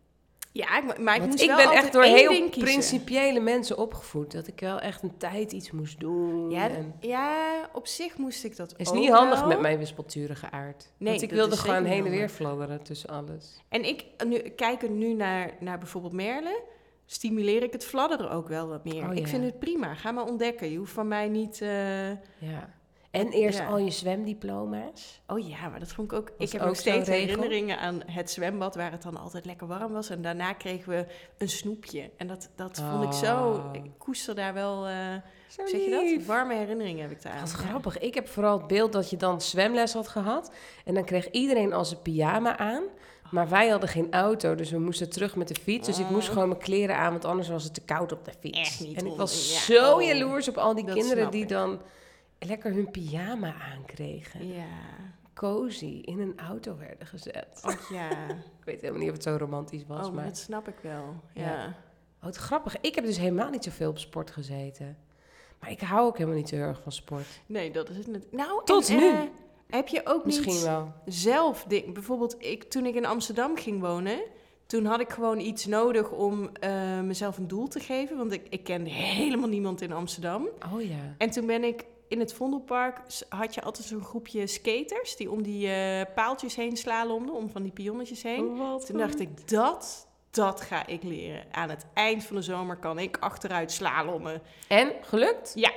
Ja, ik, maar ik Want moest ik wel ben altijd echt door één heel ding kiezen. principiële mensen opgevoed. Dat ik wel echt een tijd iets moest doen. Ja, d- en ja, op zich moest ik dat is ook niet handig wel. met mijn wispelturige aard. Nee, Want ik dat wilde is gewoon zeker niet heen en weer handig. fladderen tussen alles. En ik nu, kijken nu naar, naar bijvoorbeeld Merle, stimuleer ik het fladderen ook wel wat meer. Oh, ja. Ik vind het prima. Ga maar ontdekken. Je hoeft van mij niet... eh, Ja. En eerst Ja. al je zwemdiploma's. Oh ja, maar dat vond ik ook. Was ik heb ook nog steeds zo'n regel. herinneringen aan het zwembad waar het dan altijd lekker warm was. En daarna kregen we een snoepje. En dat, dat vond ik zo. Oh. Ik koester daar wel. eh, Zo hoe zeg je dat? Warme herinneringen heb ik daar. Wat grappig. Ik heb vooral het beeld dat je dan zwemles had gehad. En dan kreeg iedereen al zijn pyjama aan. Maar wij hadden geen auto, dus we moesten terug met de fiets. Dus ik moest Oh. gewoon mijn kleren aan, want anders was het te koud op de fiets. Echt niet en ik on- was ja, zo oh. jaloers op al die Dat kinderen snap die ik. dan lekker hun pyjama aankregen. [LAUGHS] Ja. Cozy in een auto werden gezet. Och ja. Ik weet helemaal niet of het zo romantisch was, Oh, maar maar... dat snap ik wel. Ja. Ja. Oh, wat grappig. Ik heb dus helemaal niet zoveel op sport gezeten. Maar ik hou ook helemaal niet zo heel erg van sport. Nee, dat is het. net- Nou, en, Tot eh, nu. heb je ook Misschien niet wel. zelf dingen. Bijvoorbeeld, ik, toen ik in Amsterdam ging wonen. Toen had ik gewoon iets nodig om eh, mezelf een doel te geven. Want ik, ik kende helemaal niemand in Amsterdam. Oh ja. En toen ben ik in het Vondelpark, s- had je altijd zo'n groepje skaters die om die eh, paaltjes heen slalomden, om van die pionnetjes heen. Oh, Toen dacht ik, dat, dat ga ik leren. Aan het eind van de zomer kan ik achteruit slalommen. En, gelukt? Ja,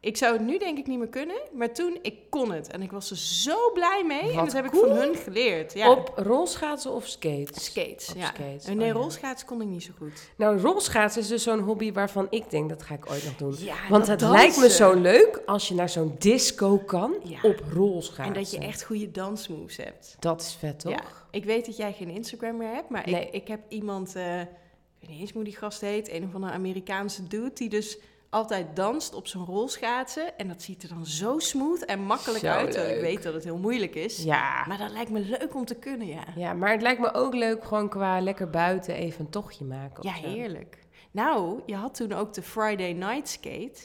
ik zou het nu denk ik niet meer kunnen, maar toen, ik kon het. En ik was er zo blij mee en Wat dat heb cool. ik van hun geleerd. Ja. Op rolschaatsen of skates? skates, op ja. skates, En nee, oh ja. rolschaatsen kon ik niet zo goed. Nou, rolschaatsen is dus zo'n hobby waarvan ik denk, dat ga ik ooit nog doen. Ja, Want het dat lijkt me dansen. zo leuk als je naar zo'n disco kan Ja. op rolschaatsen. En dat je echt goede dansmoves hebt. Dat is vet, toch? Ja, ik weet dat jij geen Instagram meer hebt, maar Nee. ik, ik heb iemand, eh, ik weet niet eens hoe die gast heet, een of andere Amerikaanse dude, die dus altijd danst op zijn rolschaatsen. En dat ziet er dan zo smooth en makkelijk Zo uit. terwijl Ik leuk. weet dat het heel moeilijk is, Ja. maar dat lijkt me leuk om te kunnen, ja. Ja, maar het lijkt me ook leuk gewoon qua lekker buiten even een tochtje maken. of Ja, zo. heerlijk. Nou, je had toen ook de Friday Night Skate.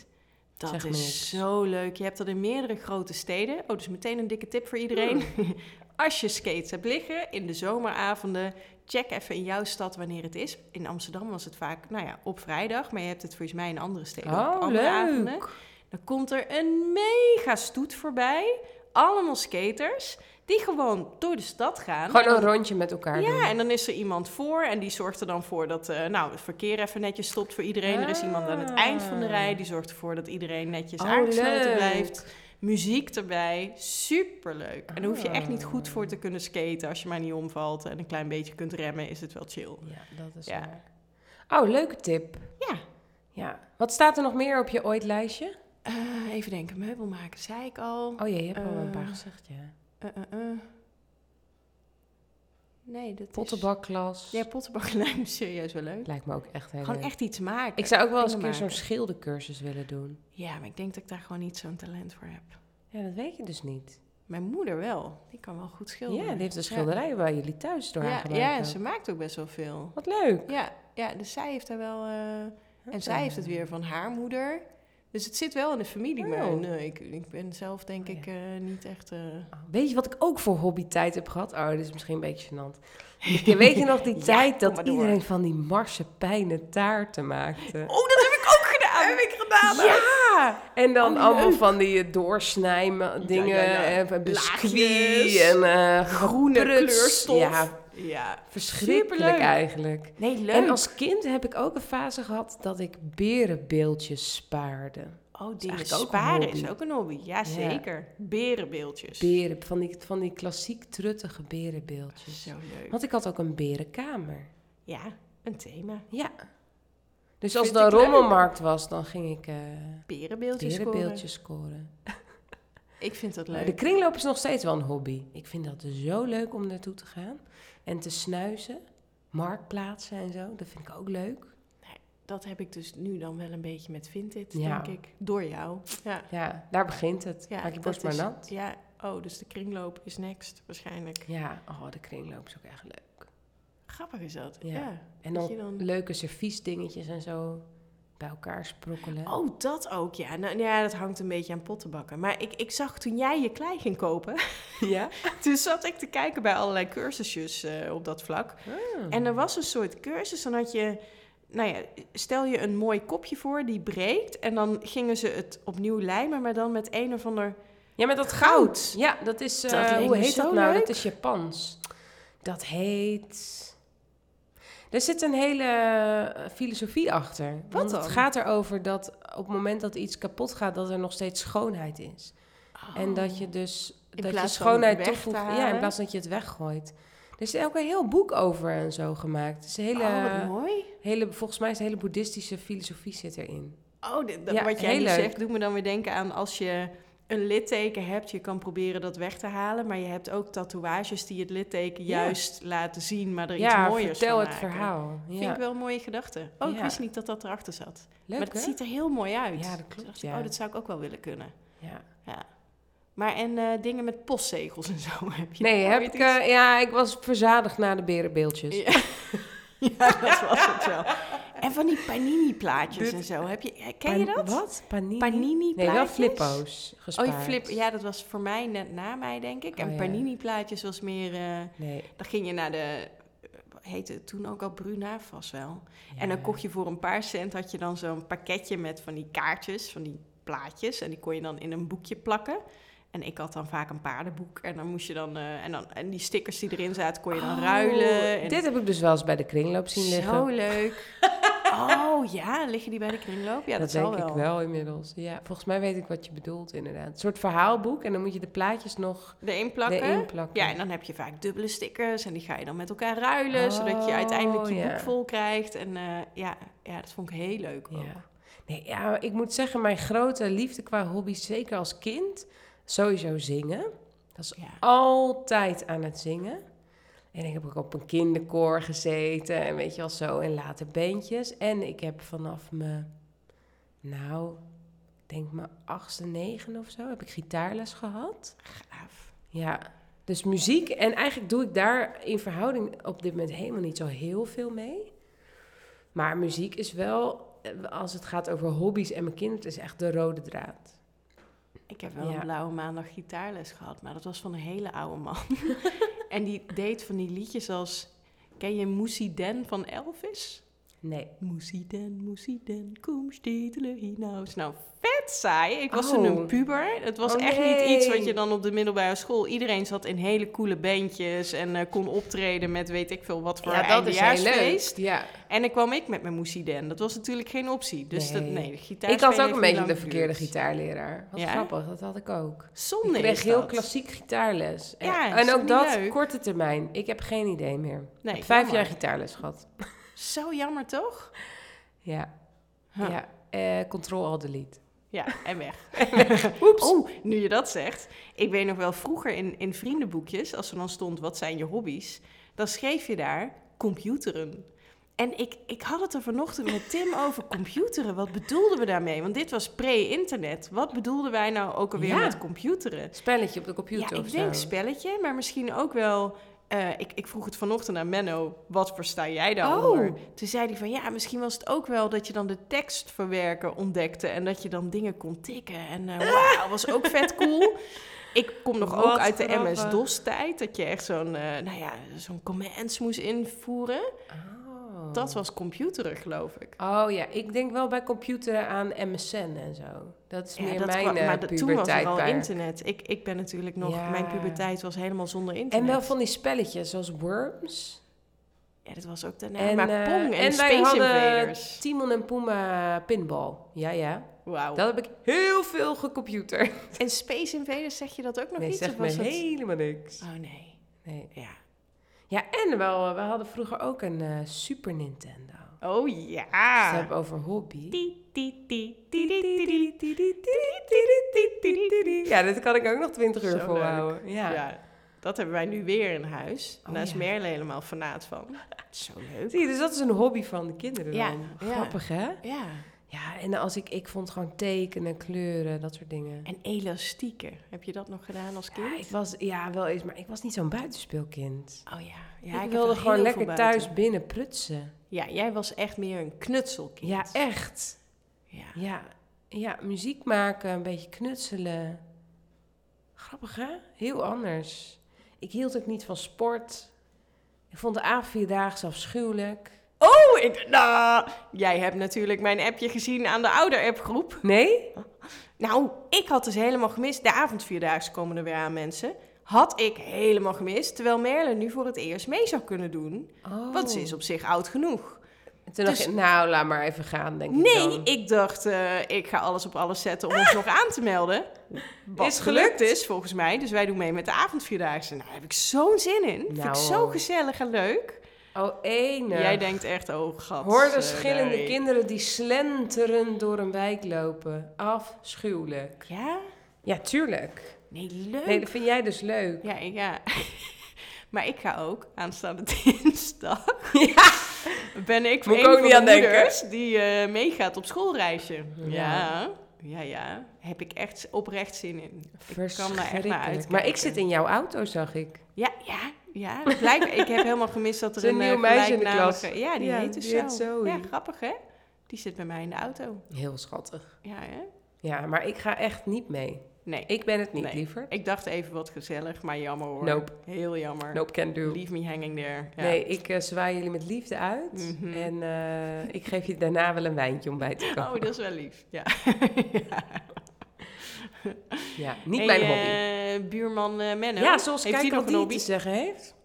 Dat Zeg me is niks. zo leuk. Je hebt dat in meerdere grote steden. Oh, dus meteen een dikke tip voor iedereen. Hmm. [LAUGHS] Als je skates hebt liggen in de zomeravonden, check even in jouw stad wanneer het is. In Amsterdam was het vaak, nou ja, op vrijdag. Maar je hebt het volgens mij in andere steden ook op Oh, andere leuk. avonden. Dan komt er een mega stoet voorbij. Allemaal skaters die gewoon door de stad gaan. Gewoon En- een rondje met elkaar doen. ja, en dan is er iemand voor en die zorgt er dan voor dat eh, nou, het verkeer even netjes stopt voor iedereen. Er is iemand aan het eind van de rij, die zorgt ervoor dat iedereen netjes Oh, aangesloten leuk. blijft. Muziek erbij, superleuk. En daar hoef je echt niet goed voor te kunnen skaten als je maar niet omvalt en een klein beetje kunt remmen, is het wel chill. Ja, dat is Ja. waar. Oh, leuke tip. Ja, Ja. Wat staat er nog meer op je ooit lijstje? Eh, even denken, meubel maken, zei ik al. Oh ja, je hebt al een paar Eh, gezegd, ja. Eh, eh, eh. Nee, dat is... Pottenbakklas. Ja, pottenbak [LAUGHS] lijkt me serieus wel leuk. Lijkt me ook echt heel Gewoon leuk. echt iets maken. Ik zou ook wel eens een Dingen keer zo'n maken. schildercursus willen doen. Ja, maar ik denk dat ik daar gewoon niet zo'n talent voor heb. Ja, dat weet je dus niet. Mijn moeder wel. Die kan wel goed schilderen. Ja, die heeft een schilderij bij jullie thuis door haar Ja, ja, gemaakt en ook. ze maakt ook best wel veel. Wat leuk. Ja, ja dus zij heeft daar wel... eh, en zij heeft het weer van haar moeder. Dus het zit wel in de familie, maar Oh. nee, ik, ik ben zelf denk Oh, ik eh, niet echt... eh, Oh, Weet je wat ik ook voor hobbytijd heb gehad? Oh, dit is misschien een beetje gênant. [LAUGHS] Je weet je nog die Ja, tijd kom dat maar door. iedereen van die marsepijnen taarten maakte? Oh, dat [LAUGHS] heb ik ook gedaan! heb ik gedaan? Ja! En dan Oh, allemaal leuk. van die eh, doorsnijmen dingen. ja, ja. En biscuit Laagjes. en eh, Groene pruts. kleurstof. Ja, ja. verschrikkelijk Superleuk. eigenlijk. Nee, leuk. En als kind heb ik ook een fase gehad dat ik berenbeeldjes spaarde. Oh, dingen eigenlijk ook sparen een is hobby. ook een hobby. Ja, zeker. Berenbeeldjes. Beren, van die, van die klassiek truttige berenbeeldjes. Zo leuk. Want ik had ook een berenkamer. Ja, een thema. Ja. Dus als Vind er een ik leuk. rommelmarkt was, dan ging ik eh Berenbeeldjes scoren. berenbeeldjes scoren. Ik vind dat Maar leuk. De kringloop is nog steeds wel een hobby. Ik vind dat dus zo leuk om naartoe te gaan. En te snuizen. Marktplaatsen en zo. Dat vind ik ook leuk. Dat heb ik dus nu dan wel een beetje met Vinted, Ja. denk ik. Door jou. Ja. Ja, daar begint het. ja Maak je dat borst maar is- nat. Ja. Oh, dus de kringloop is next, waarschijnlijk. Ja, oh, de kringloop is ook echt leuk. Grappig is dat. Ja. Ja. En Dat dan, je dan- leuke serviesdingetjes en zo bij elkaar sprokkelen. Oh, dat ook, ja. Nou, ja, dat hangt een beetje aan pottenbakken. Maar ik, ik zag toen jij je klei ging kopen, [LAUGHS] ja? toen zat ik te kijken bij allerlei cursusjes eh, op dat vlak. En Mhm. er was een soort cursus, dan had je... Nou ja, stel je een mooi kopje voor, die breekt. En dan gingen ze het opnieuw lijmen, maar dan met een of ander... ja, met dat goud. Goud! Ja, dat is... eh, Dat leek hoe me heet zo dat nou? leuk. Dat is Japans. Dat heet... Er zit een hele eh, filosofie achter. want dan? het gaat erover dat op het moment dat iets kapot gaat, dat er nog steeds schoonheid is. En dat je dus Oh. In dat je plaats van schoonheid weg toch te hoeft- Ja, in halen. plaats dat je het weggooit. Er is ook een heel boek over en zo gemaakt. Het is een hele, Oh, wat mooi. hele, volgens mij is de hele boeddhistische filosofie zit erin. Oh, dit- dat, Ja, wat jij heel nu leuk. zegt doet me dan weer denken aan als je een litteken hebt, je kan proberen dat weg te halen, maar je hebt ook tatoeages die het litteken Ja. juist laten zien, maar er iets ja, mooiers vertel van het maken. verhaal. Vind Ja. ik wel een mooie gedachte. Oh, ik Ja. wist niet dat dat erachter zat. Leuk, maar het hè? ziet er heel mooi uit. Ja, dat Toen klopt, dacht ik, ja. Oh, dat zou ik ook wel willen kunnen. Ja. Ja. Maar en eh, dingen met postzegels en zo [LAUGHS] heb je Nee, heb ooit ik, iets? eh, ja, ik was verzadigd na de berenbeeldjes. Ja. Ja, dat was het wel. En van die [LAUGHS] panini-plaatjes en zo. Heb je, eh, ken je Pan- dat? Wat? Panini? Panini-plaatjes? Nee, wel flippo's gespaard. Oh, je flip. Ja, dat was voor mij net na mij, denk ik. Oh, en ja. panini-plaatjes was meer... eh, Nee. dan ging je naar de... Heette het toen ook al Bruna vast wel. Ja. En dan kocht je voor een paar cent... had je dan zo'n pakketje met van die kaartjes, van die plaatjes. En die kon je dan in een boekje plakken. En ik had dan vaak een paardenboek. En dan moest je dan... eh, en, dan en die stickers die erin zaten, kon je dan Oh, ruilen. En Dit heb ik dus wel eens bij de kringloop zien liggen. Zo [LAUGHS] leuk. oh ja, liggen die bij de kringloop? Ja, dat, dat zal denk ik wel inmiddels. Ja, volgens mij weet ik wat je bedoelt inderdaad. Een soort verhaalboek en dan moet je de plaatjes nog De een plakken. erin plakken. Ja, en dan heb je vaak dubbele stickers en die ga je dan met elkaar ruilen, Oh, zodat je uiteindelijk je ja. boek vol krijgt. En eh, ja, ja, dat vond ik heel leuk ook. Ja. Nee, ja, ik moet zeggen, mijn grote liefde qua hobby, zeker als kind, sowieso zingen. Dat is Ja. altijd aan het zingen. En ik heb ook op een kinderkoor gezeten en weet je wel zo, en later bandjes. En ik heb vanaf me, nou, ik denk mijn achtste, negen of zo, heb ik gitaarles gehad. Gaaf. Ja, dus muziek. En eigenlijk doe ik daar in verhouding op dit moment helemaal niet zo heel veel mee. Maar muziek is wel, eh, als het gaat over hobby's en mijn kinderen, het is echt de rode draad. Ik heb wel Ja. een blauwe maandag gitaarles gehad, maar dat was van een hele oude [LAUGHS] man. en die deed van die liedjes als, ken je Moesie Den van Elvis? Nee. Moesie Den, Moesie Den, kom stietelen hinaus. Nou, vet saai. Ik was Oh. toen een puber. Het was Oh, echt nee. niet iets wat je dan op de middelbare school... Iedereen zat in hele coole bandjes en eh, kon optreden met weet ik veel wat voor eindejaarsfeest. Ja. En dan kwam ik met mijn Moesie Den. Dat was natuurlijk geen optie. Dus Nee. dat, nee, de gitaar Ik had spelen ook een heeft beetje niet de lang verkeerde geduurd. gitaarleraar. Wat Ja? grappig, dat had ik ook. Zonde ik kreeg is heel dat. klassiek gitaarles. En- Ja, is en toch ook niet dat, leuk? korte termijn. Ik heb geen idee meer. Ik Nee, heb vijf jammer. jaar gitaarles gehad. Zo jammer, toch? Ja. Huh. ja. Eh, control al delete. Ja, [LAUGHS] en weg. Oeps. Oh, nu je dat zegt. Ik weet nog wel vroeger in, in vriendenboekjes, als er dan stond wat zijn je hobby's, dan schreef je daar computeren. En ik, ik had het er vanochtend met Tim [LAUGHS] over computeren. Wat bedoelden we daarmee? Want dit was pre-internet. Wat bedoelden wij nou ook alweer Ja. met computeren? Spelletje op de computer Ja, of ik zo. denk spelletje, maar misschien ook wel... eh, ik, ik vroeg het vanochtend aan Menno, wat versta jij daaronder? Oh. Toen zei hij van, ja, misschien was het ook wel dat je dan de tekst verwerken ontdekte... en dat je dan dingen kon tikken. En [LAUGHS] eh wauw, was ook vet cool. Ik kom nog Wat ook uit de grappig. MS-DOS-tijd, dat je echt zo'n, eh, nou ja, zo'n commands moest invoeren. Oh. Oh. Dat was computerig, geloof ik. Oh ja, ik denk wel bij computeren aan MSN en zo. Dat is Ja, meer dat mijn kwam- eh, maar dat- toen was er al pubertijdperk. internet. Ik, ik ben natuurlijk nog... Ja. Mijn puberteit was helemaal zonder internet. En wel van die spelletjes zoals Worms. Ja, dat was ook daarna. En, maar eh, Pong en, en wij Space hadden- Invaders. Oh. Timon en Puma pinball. Ja, ja. Wauw. Dat heb ik heel veel gecomputer. En Space Invaders, zeg je dat ook nog Nee, iets? zegt of me was dat- helemaal niks. Oh nee, Nee. ja. Ja, en wel, eh, we hadden vroeger ook een eh, Super Nintendo. Oh Ze ja. hebben over hobby. Ti, ti, ti, ti, ti, ti, ti, ti, ti, ti. Ja, dit kan ik ook nog 20 uur Zo volhouden. Ja. Ja. dat hebben wij nu weer in huis. Oh, Daar is ja. Merle helemaal fanaat van. Zo leuk. Zie je, dus dat is een hobby van de kinderen Ja, dan. ja. Grappig, hè? Ja, Ja, en als ik, ik vond gewoon tekenen, kleuren, dat soort dingen. en elastieken. Heb je dat nog gedaan als Ja, kind? ik was, ja, wel eens, maar ik was niet zo'n buitenspeelkind. Oh ja. ja ik, heb wilde wel gewoon heel veel lekker buiten. thuis binnen prutsen. Ja, jij was echt meer een knutselkind. Ja, echt. Ja. Ja, ja, muziek maken, een beetje knutselen. Grappig, hè? Heel anders. Ik hield ook niet van sport. Ik vond de A4-daagse afschuwelijk. Oh, ik, nou, jij hebt natuurlijk mijn appje gezien aan de ouder-appgroep. Nee? Nou, ik had dus helemaal gemist. De avondvierdaagse komen er weer aan, mensen. Had ik helemaal gemist. Terwijl Merle nu voor het eerst mee zou kunnen doen. Oh. Want ze is op zich oud genoeg. En Toen dacht dus- ik, nou, laat maar even gaan, denk ik Nee, dan. ik dacht, eh, ik ga alles op alles zetten om ons nog aan te melden. Wat Is is gelukt. gelukt is, volgens mij. Dus wij doen mee met de avondvierdaagse. Nou, daar heb ik zo'n zin in. Vind ik Nou, zo eh, gezellig en leuk. Oh, enig. Jij denkt echt, oh gat. Hoor eh, de schillende nee. kinderen die slenterend door een wijk lopen. Afschuwelijk. Ja? Ja, tuurlijk. Nee, leuk. Nee, dat vind jij dus leuk. Ja, ik- ja. [LAUGHS] Maar ik ga ook aanstaande [LAUGHS] dinsdag. Ben ik Moet ik een ook van niet de aan denken. moeders die eh, meegaat op schoolreisje. Ja. Ja. ja, ja, Heb ik echt oprecht zin in. Ik kan daar echt naar Verschrikkelijk. uit. Maar ik zit in jouw auto, zag ik. Ja, ja, ja. Blijkbaar, ik heb helemaal gemist dat er Zo'n een eh, nieuw meisje in de gelijknamige- klas. Ja, die Ja, heet dus die heet zo. Zoe. Ja, grappig hè? Die zit bij mij in de auto. Heel schattig. Ja, hè? Ja, maar ik ga echt niet mee. Nee. Ik ben het niet, Nee. liever. Ik dacht even wat gezellig, maar jammer hoor. Nope. Heel jammer. Nope, can do. Leave me hanging there. Ja. Nee, ik eh, zwaai jullie met liefde uit. Mhm. En eh, ik geef je daarna wel een wijntje om bij [LAUGHS] te Oh, komen. dat is wel lief. Ja. Ja, niet Hey, mijn hobby. eh, buurman eh Menno. ja, zoals Heeft kijk hij wat nog een hobby? die te zeggen heeft.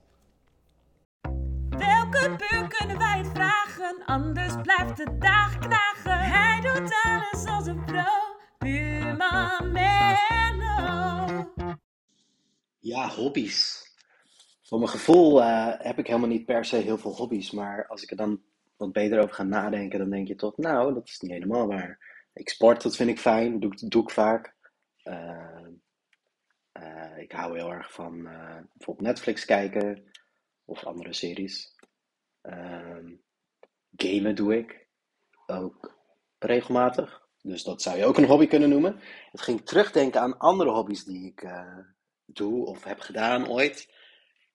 Welke buur kunnen wij het vragen? Anders blijft de dag knagen. Hij doet alles als een pro. Buurman Menno. Ja, hobby's. Voor mijn gevoel eh, heb ik helemaal niet per se heel veel hobby's, maar als ik er dan wat beter over ga nadenken, dan denk je toch, nou, dat is niet helemaal waar. Ik sport, dat vind ik fijn, doe, ik- doe ik vaak. Eh, eh, ik hou heel erg van eh, bijvoorbeeld Netflix kijken of andere series. Ehm, gamen doe ik ook regelmatig, dus dat zou je ook een hobby kunnen noemen. Het ging terugdenken aan andere hobby's die ik. eh, doe of heb gedaan ooit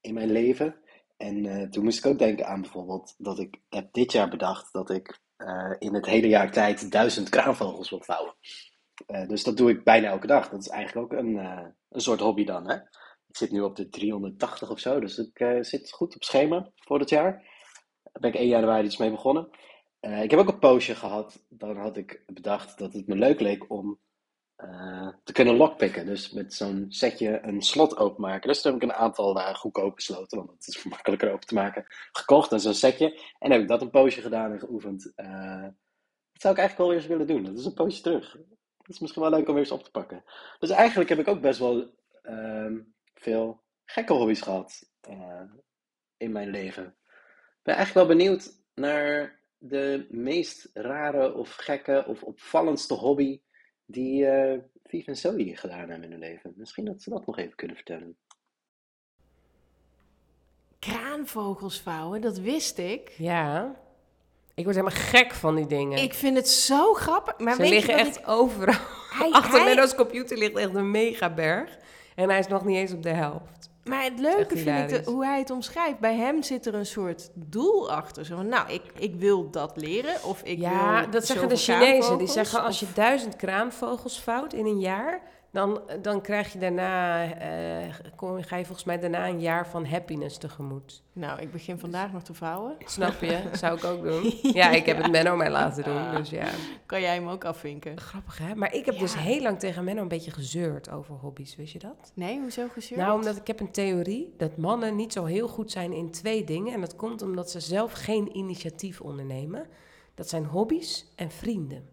in mijn leven. En eh, toen moest ik ook denken aan bijvoorbeeld dat ik heb dit jaar bedacht dat ik eh, in het hele jaar tijd duizend kraanvogels wil vouwen. Eh, dus dat doe ik bijna elke dag. Dat is eigenlijk ook een, eh, een soort hobby dan. Hè? Ik zit nu op de 380 of zo, dus ik eh, zit goed op schema voor dit jaar. Daar ben ik 1 januari iets mee begonnen. Eh, ik heb ook een poosje gehad. Dan had ik bedacht dat het me leuk leek om eh, te kunnen lockpicken. Dus met zo'n setje een slot openmaken. Dus toen heb ik een aantal eh, goedkope sloten, want dat is [LAUGHS] makkelijker open te maken, gekocht en zo'n setje. En heb ik dat een poosje gedaan en geoefend. Eh, dat zou ik eigenlijk wel weer eens willen doen. Dat is een poosje terug. Dat is misschien wel leuk om weer eens op te pakken. Dus eigenlijk heb ik ook best wel ehm, veel gekke hobby's gehad eh, in mijn leven. Ik ben eigenlijk wel benieuwd naar de meest rare of gekke of opvallendste hobby die eh Viv en Zoe gedaan hebben in hun leven. Misschien dat ze dat nog even kunnen vertellen. Kraanvogels vouwen, dat wist ik. Ja. Ik word helemaal gek van die dingen. Ik vind het zo grappig. Maar Ze weet liggen je wat echt overal. ik- hij- [LAUGHS] Achter hij- Menno's computer ligt echt een megaberg. En hij is nog niet eens op de helft. Maar het echt leuke vind ik hilarisch. de- hoe hij het omschrijft. Bij hem zit er een soort doel achter. Zo van, nou, ik, ik wil dat leren. Of ik ja, wil dat zeggen de zoveel Chinezen. Die kraanvogels, zeggen als of- je duizend kraanvogels vouwt in een jaar, Dan, dan krijg je daarna, eh, kom, ga je volgens mij daarna een jaar van happiness tegemoet. Nou, ik begin vandaag nog te vouwen. [LAUGHS] Snap je? Zou ik ook doen. Ja, ik heb het Menno mij laten doen, dus ja. Kan jij hem ook afvinken? Grappig, hè? Maar ik heb dus Ja. heel lang tegen Menno een beetje gezeurd over hobby's, wist je dat? Nee, hoezo gezeurd? Nou, omdat ik heb een theorie dat mannen niet zo heel goed zijn in twee dingen. En dat komt omdat ze zelf geen initiatief ondernemen. Dat zijn hobby's en vrienden.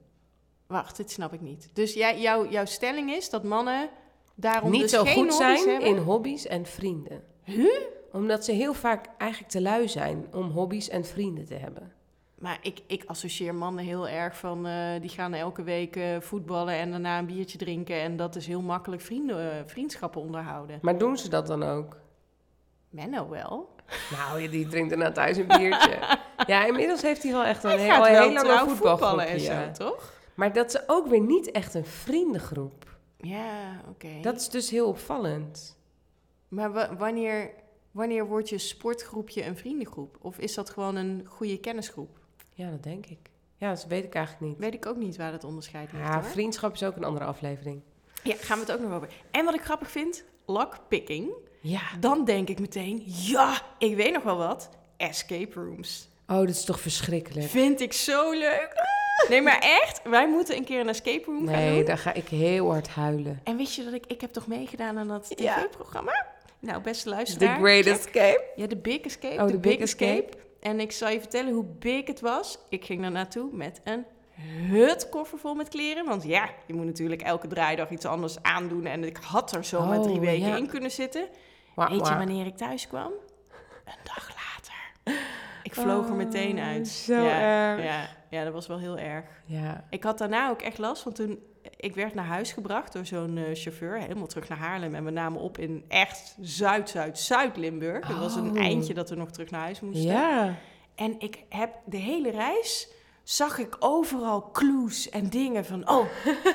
Wacht, dit snap ik niet. Dus jij, jouw jouw stelling is dat mannen daarom niet dus zo geen goed hobby's zijn hebben? in hobby's en vrienden. Omdat ze heel vaak eigenlijk te lui zijn om hobby's en vrienden te hebben. Maar ik, ik associeer mannen heel erg van... eh, die gaan elke week eh, voetballen en daarna een biertje drinken... en dat is heel makkelijk vrienden, eh, vriendschappen onderhouden. Maar doen ze dat dan ook? Menno wel. Nou, ja, die drinkt daarna thuis een [LAUGHS] biertje. ja, inmiddels heeft hij wel echt een Hij heel, gaat al heel heel lange trouw voetballen en voetbalgroepje. zo, ja. toch? Maar dat ze ook weer niet echt een vriendengroep. Ja, oké. Dat is dus heel opvallend. Maar wa- wanneer, wanneer wordt je sportgroepje een vriendengroep? Of is dat gewoon een goede kennisgroep? Ja, dat denk ik. Ja, dat weet ik eigenlijk niet. Weet ik ook niet waar dat onderscheid ligt. Ja, hoor. vriendschap is ook een andere aflevering. Ja, gaan we het ook nog over. En wat ik grappig vind, lockpicking. Ja. Dan denk ik meteen, ja, ik weet nog wel wat. Escape rooms. Oh, dat is toch verschrikkelijk. Vind ik zo leuk. Ah! Nee, maar echt, wij moeten een keer een escape room gaan Nee, doen. daar ga ik heel hard huilen. En wist je dat ik, ik heb toch meegedaan aan dat Ja. tv-programma? Nou, beste The luisteraar. Great check. Escape. Ja, de Big Escape. Oh, de de Big, Big escape. Escape. En ik zal je vertellen hoe big het was. Ik ging daar naartoe met een hut koffer vol met kleren. Want ja, je moet natuurlijk elke draaidag iets anders aandoen. En ik had er zo maar drie Oh, weken ja. in kunnen zitten. Wauw, Weet je wauw. wanneer ik thuis kwam? Een dag later. Ik vloog er meteen uit. Oh, zo ja, erg. Ja, ja, dat was wel heel erg. Ja. Ik had daarna ook echt last, want toen... Ik werd naar huis gebracht door zo'n eh, chauffeur, helemaal terug naar Haarlem. En we namen op in echt Zuid-Zuid-Zuid-Limburg. Het was een Oh. eindje dat we nog terug naar huis moesten. Ja. En ik heb de hele reis zag ik overal clues en dingen van oh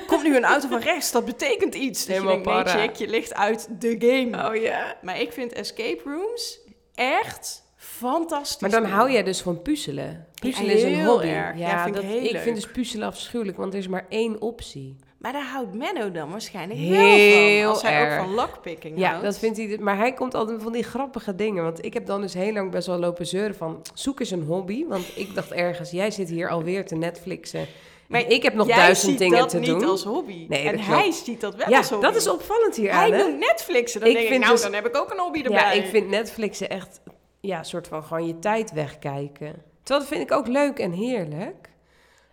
komt nu een auto van rechts dat betekent iets. Dus je Helemaal denkt nee para. chick, je ligt uit de game. Oh ja. Maar ik vind escape rooms echt fantastisch. Maar dan leuk. hou jij dus van puzzelen. Puzzelen is een heel hobby. erg. Ja, vind ik dat, heel ik leuk. vind dus puzzelen afschuwelijk, want er is maar één optie. Maar daar houdt Menno dan waarschijnlijk wel Heel van als hij erg. ook van lockpicking Ja, houdt. dat vindt hij. Maar hij komt altijd van die grappige dingen. Want ik heb dan dus heel lang best wel lopen zeuren van. Zoek eens een hobby. Want ik dacht ergens, jij zit hier alweer te Netflixen. Maar ik heb nog Jij duizend ziet dingen dat te niet doen. als hobby. Nee, en dat hij ziet dat wel ja, als hobby. dat is opvallend hier Hij aan. Hè? doet Netflixen. Dan Ik denk ik, vind nou, dus- dan heb ik ook een hobby erbij. Ja, ik vind Netflixen echt. Ja, soort van gewoon je tijd wegkijken. Terwijl dat vind ik ook leuk en heerlijk.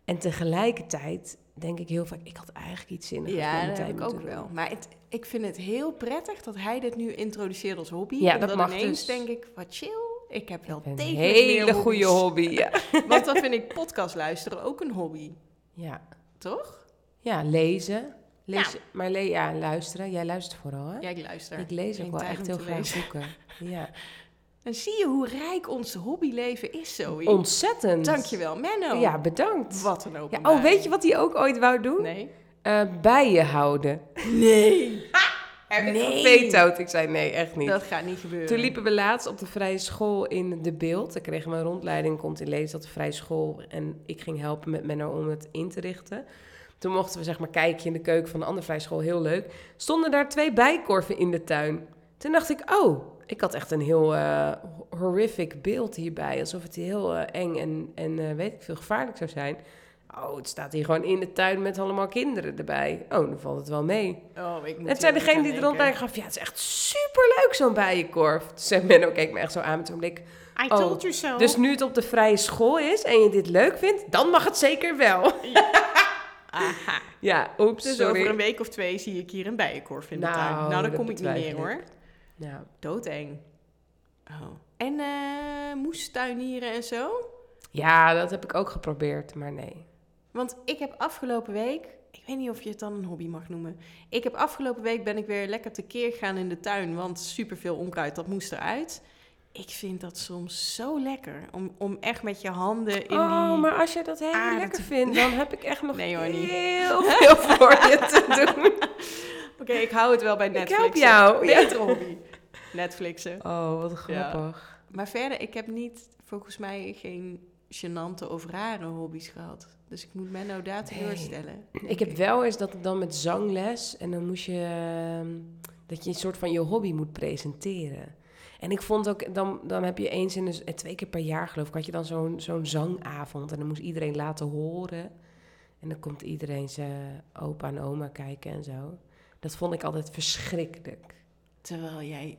En tegelijkertijd denk ik heel vaak, ik had eigenlijk iets zinnigs met Ja, mijn dat tijd heb ik moeten ook doen. wel. Maar het, ik vind het heel prettig dat hij dit nu introduceert als hobby. Ja, en dat dan mag ineens dus. denk ik, wat chill. Ik heb wel Een tegen hele goede hobby. Ja. [LAUGHS] Want dan vind ik podcast luisteren ook een hobby, ja. toch? Ja, lezen. Lees, Ja. Maar le ja, luisteren. Jij luistert vooral, hè? Ja, ik luister. ik lees Geen ook wel tijd echt om heel te graag lezen. boeken. [LAUGHS] Ja. Dan zie je hoe rijk ons hobbyleven is, Zoe. Ontzettend. Dankjewel, Menno. Ja, bedankt. Wat een Ja, open. oh, weet je wat hij ook ooit wou doen? Nee. Eh, bijen houden. Nee. Heb je het Ik zei nee, echt niet. Dat gaat niet gebeuren. Toen liepen we laatst op de vrije school in De Beeld. Dan kregen we een rondleiding, komt in lezen dat de vrije school. En ik ging helpen met Menno om het in te richten. Toen mochten we zeg maar kijken in de keuken van de andere vrije school. Heel leuk. Stonden daar twee bijkorven in de tuin. Toen dacht ik, oh, ik had echt een heel eh, horrific beeld hierbij. Alsof het heel eh, eng en, en eh, weet ik veel gevaarlijk zou zijn. Oh, het staat hier gewoon in de tuin met allemaal kinderen erbij. Oh, dan valt het wel mee. Oh, ik moet En zijn hier degene aan die denken. er rondbij gaf, ja, het is echt superleuk zo'n bijenkorf. Toen zei Menno, keek me echt zo aan met zo'n blik. I Oh, told you so. Dus nu het op de vrije school is en je dit leuk vindt, dan mag het zeker wel. Aha. Ja, oeps, Dus sorry. over een week of twee zie ik hier een bijenkorf in de Nou, tuin. Nou, daar dat kom ik niet betwijfel meer ik. hoor. Ja. Doodeng. Oh. En eh moestuinieren en zo? ja, dat heb ik ook geprobeerd, maar nee. Want ik heb afgelopen week... Ik weet niet of je het dan een hobby mag noemen. Ik heb afgelopen week ben ik weer lekker tekeer gegaan in de tuin. Want superveel onkruid, dat moest eruit. Ik vind dat soms zo lekker. Om, om echt met je handen in oh, die... maar als jij dat heel aarde lekker te- vindt, dan heb ik echt nog Nee, hoor, niet. heel veel voor je te [LAUGHS] doen. Oké, ik hou het wel bij help Netflix. jou, ja. Betere hobby. Netflixen. Oh, wat grappig. Maar verder, ik heb niet, volgens mij, geen gênante of rare hobby's gehad. Dus ik moet Menno daar teleurstellen. Ik heb wel eens dat ik dan met zangles en dan moest je ehm, dat je een soort van je hobby moet presenteren. En ik vond ook, dan, dan heb je eens in de, z- eh, twee keer per jaar geloof ik, had je dan zo'n zo'n zangavond en dan moest iedereen laten horen. En dan komt iedereen zijn opa en oma kijken en zo. Dat vond ik altijd verschrikkelijk. Terwijl jij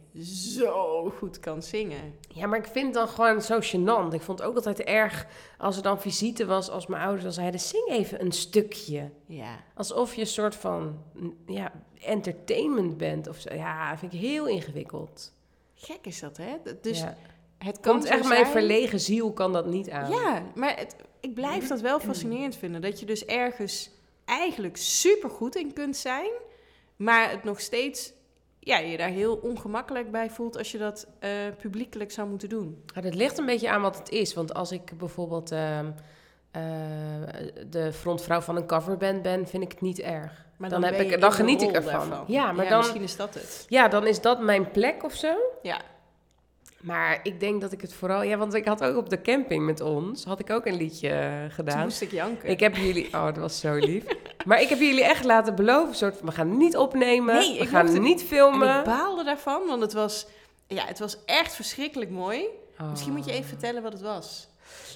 zo goed kan zingen. Ja, maar ik vind het dan gewoon zo gênant. Ik vond het ook altijd erg als er dan visite was, als mijn ouders dan zeiden, zing even een stukje. Ja. Alsof je een soort van mm, ja, entertainment bent of zo. Ja, vind ik heel ingewikkeld. Gek is dat, hè? D- Dus ja. het kan Komt zo echt mijn zijn- verlegen ziel kan dat niet aan. Ja, maar het- ik blijf dat wel fascinerend vinden. Dat je dus ergens eigenlijk supergoed in kunt zijn, maar het nog steeds ja, je daar heel ongemakkelijk bij voelt als je dat eh, publiekelijk zou moeten doen. Maar dat ligt een beetje aan wat het is. Want als ik bijvoorbeeld ehm, eh, de frontvrouw van een coverband ben, vind ik het niet erg. Maar Dan heb ben ik- je in dan de geniet ik rol ervan. daarvan. Ja, maar dan- Misschien is dat het. Ja, dan is dat mijn plek of zo. Ja. Maar ik denk dat ik het vooral... Ja, want ik had ook op de camping met ons, had ik ook een liedje eh, Toen gedaan. moest ik janken. Ik heb jullie... Oh, dat was zo lief. Maar ik heb jullie echt laten beloven, soort van, we gaan niet opnemen, Nee, we ik gaan mocht het- niet en ik filmen. baalde daarvan, want het was, ja, het was echt verschrikkelijk mooi. Oh. Misschien moet je even vertellen wat het was.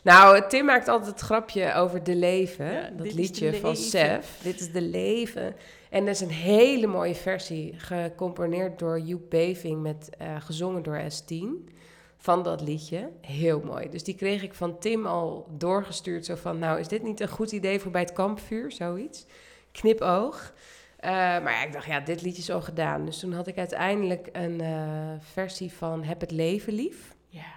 Nou, Tim maakt altijd het grapje over de leven. Ja, dit dat is liedje de van leven. Sef. Dit is de leven. En er is een hele mooie versie, gecomponeerd door Joep Beving, met, eh, gezongen door S10, van dat liedje. Heel mooi. Dus die kreeg ik van Tim al doorgestuurd, zo van, nou, is dit niet een goed idee voor bij het kampvuur, zoiets. Knipoog. Eh, maar ja, ik dacht, ja, dit liedje is al gedaan. Dus toen had ik uiteindelijk een eh, versie van Heb het leven lief Ja.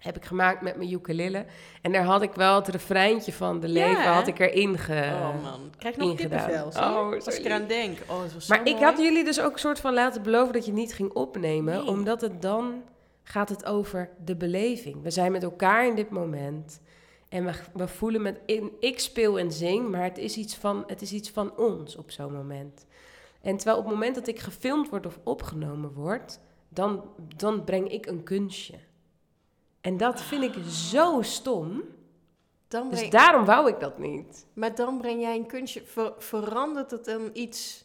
heb ik gemaakt met mijn ukulele. En daar had ik wel het refreintje van de Ja, leven hè? had ik erin ge... oh man, ik krijg nog Eh, ingedaan. kippenvel. zie je? Oh, als ik sorry. eraan denk. Oh, het was zo maar ik mooi. had jullie dus ook soort van laten beloven dat je niet ging opnemen. Nee. Omdat het dan gaat het over de beleving. We zijn met elkaar in dit moment. En we, we voelen met... In, ik speel en zing, maar het is iets van, het is iets van ons op zo'n moment. En terwijl op het moment dat ik gefilmd word of opgenomen word... dan, dan breng ik een kunstje. En dat vind Ah. ik zo stom. Dan Dus breng- daarom wou ik dat niet. Maar dan breng jij een kunstje, ver- verandert het dan iets?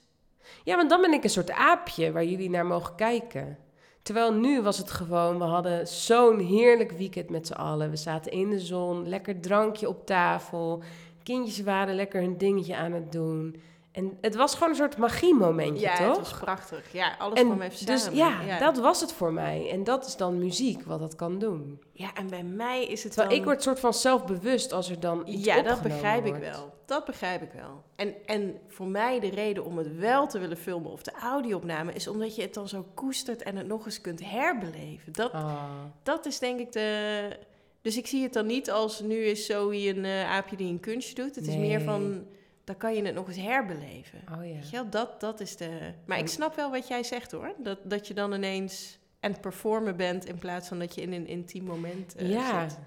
Ja, want dan ben ik een soort aapje waar jullie naar mogen kijken. Terwijl nu was het gewoon, we hadden zo'n heerlijk weekend met z'n allen. We zaten in de zon, lekker drankje op tafel. Kindjes waren lekker hun dingetje aan het doen. En het was gewoon een soort magiemomentje, ja, toch? het was prachtig. Ja, alles en kwam even dus samen. ja, dat was het voor mij. En dat is dan muziek, wat dat kan doen. ja, en bij mij is het Terwijl dan... ik word soort van zelfbewust als er dan iets Ja, dat opgenomen begrijp ik wordt. wel. Dat begrijp ik wel. En, en voor mij de reden om het wel te willen filmen of de audio-opname... is omdat je het dan zo koestert en het nog eens kunt herbeleven. Dat, Ah. dat is denk ik de... Dus ik zie het dan niet als nu is Zoe een eh, aapje die een kunstje doet. Het is Nee. meer van, dan kan je het nog eens herbeleven. Oh ja. Weet je wel, dat, dat is de... Maar ik En- snap wel wat jij zegt hoor. Dat, dat je dan ineens aan het performen bent in plaats van dat je in een intiem moment eh, ja. zit.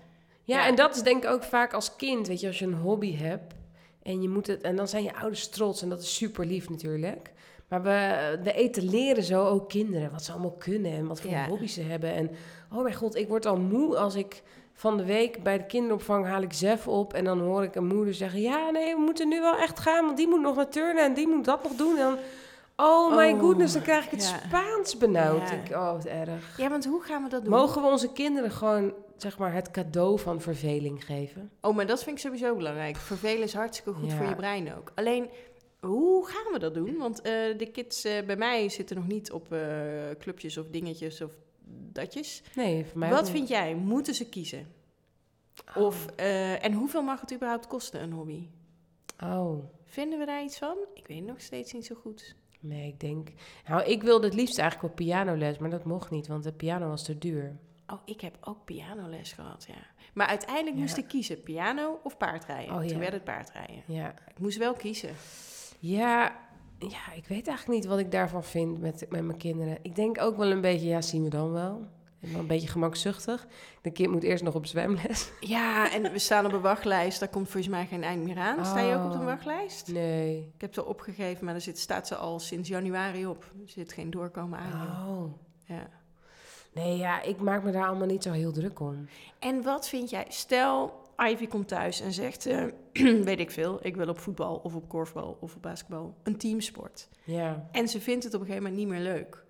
ja, Ja. en dat is denk ik ook vaak als kind, weet je, als je een hobby hebt en je moet het, en dan zijn je ouders trots en dat is super lief natuurlijk. Maar we, eh, we etaleren zo ook kinderen wat ze allemaal kunnen en wat voor Ja. hobby's ze hebben. En oh mijn god, ik word al moe als ik van de week bij de kinderopvang haal ik Zef op en dan hoor ik een moeder zeggen: Ja, nee, we moeten nu wel echt gaan, want die moet nog naar turnen en die moet dat nog doen. En dan, oh my Oh, goodness, dan krijg ik het ja. Spaans benauwd. Ja. Ik, oh, wat erg. Ja, want hoe gaan we dat doen? Mogen we onze kinderen gewoon zeg maar, het cadeau van verveling geven? Oh, maar dat vind ik sowieso belangrijk. Vervelen is hartstikke goed Ja. voor je brein ook. Alleen, hoe gaan we dat doen? Want eh, de kids eh, bij mij zitten nog niet op eh, clubjes of dingetjes of datjes. Nee, voor mij ook Wat niet. vind jij? Moeten ze kiezen? Of, eh, en hoeveel mag het überhaupt kosten, een hobby? Oh, Vinden we daar iets van? Ik weet nog steeds niet zo goed. nee, ik denk... Nou, ik wilde het liefst eigenlijk wel pianoles, maar dat mocht niet, want de piano was te duur. Oh, ik heb ook pianoles gehad, ja. Maar uiteindelijk Ja. moest ik kiezen, piano of paardrijden. Oh, ja. Toen werd het paardrijden. Ja, Ik moest wel kiezen. ja, ja ik weet eigenlijk niet wat ik daarvan vind met, met mijn kinderen. Ik denk ook wel een beetje, ja, zien we dan wel. Ik ben wel een beetje gemakzuchtig. De kind moet eerst nog op zwemles. [LAUGHS] Ja, en we staan op een wachtlijst. Daar komt volgens mij geen eind meer aan. Sta je ook op de Oh. wachtlijst? Nee. Ik heb ze opgegeven, maar er zit, staat ze al sinds januari op. Er zit geen doorkomen aan. joh. Oh. Ja. Nee, ja, ik maak me daar allemaal niet zo heel druk om. En wat vind jij? Stel, Ivy komt thuis en zegt, eh, [CLEARS THROAT] weet ik veel, ik wil op voetbal of op korfbal of op basketbal, een teamsport. Ja. En ze vindt het op een gegeven moment niet meer leuk.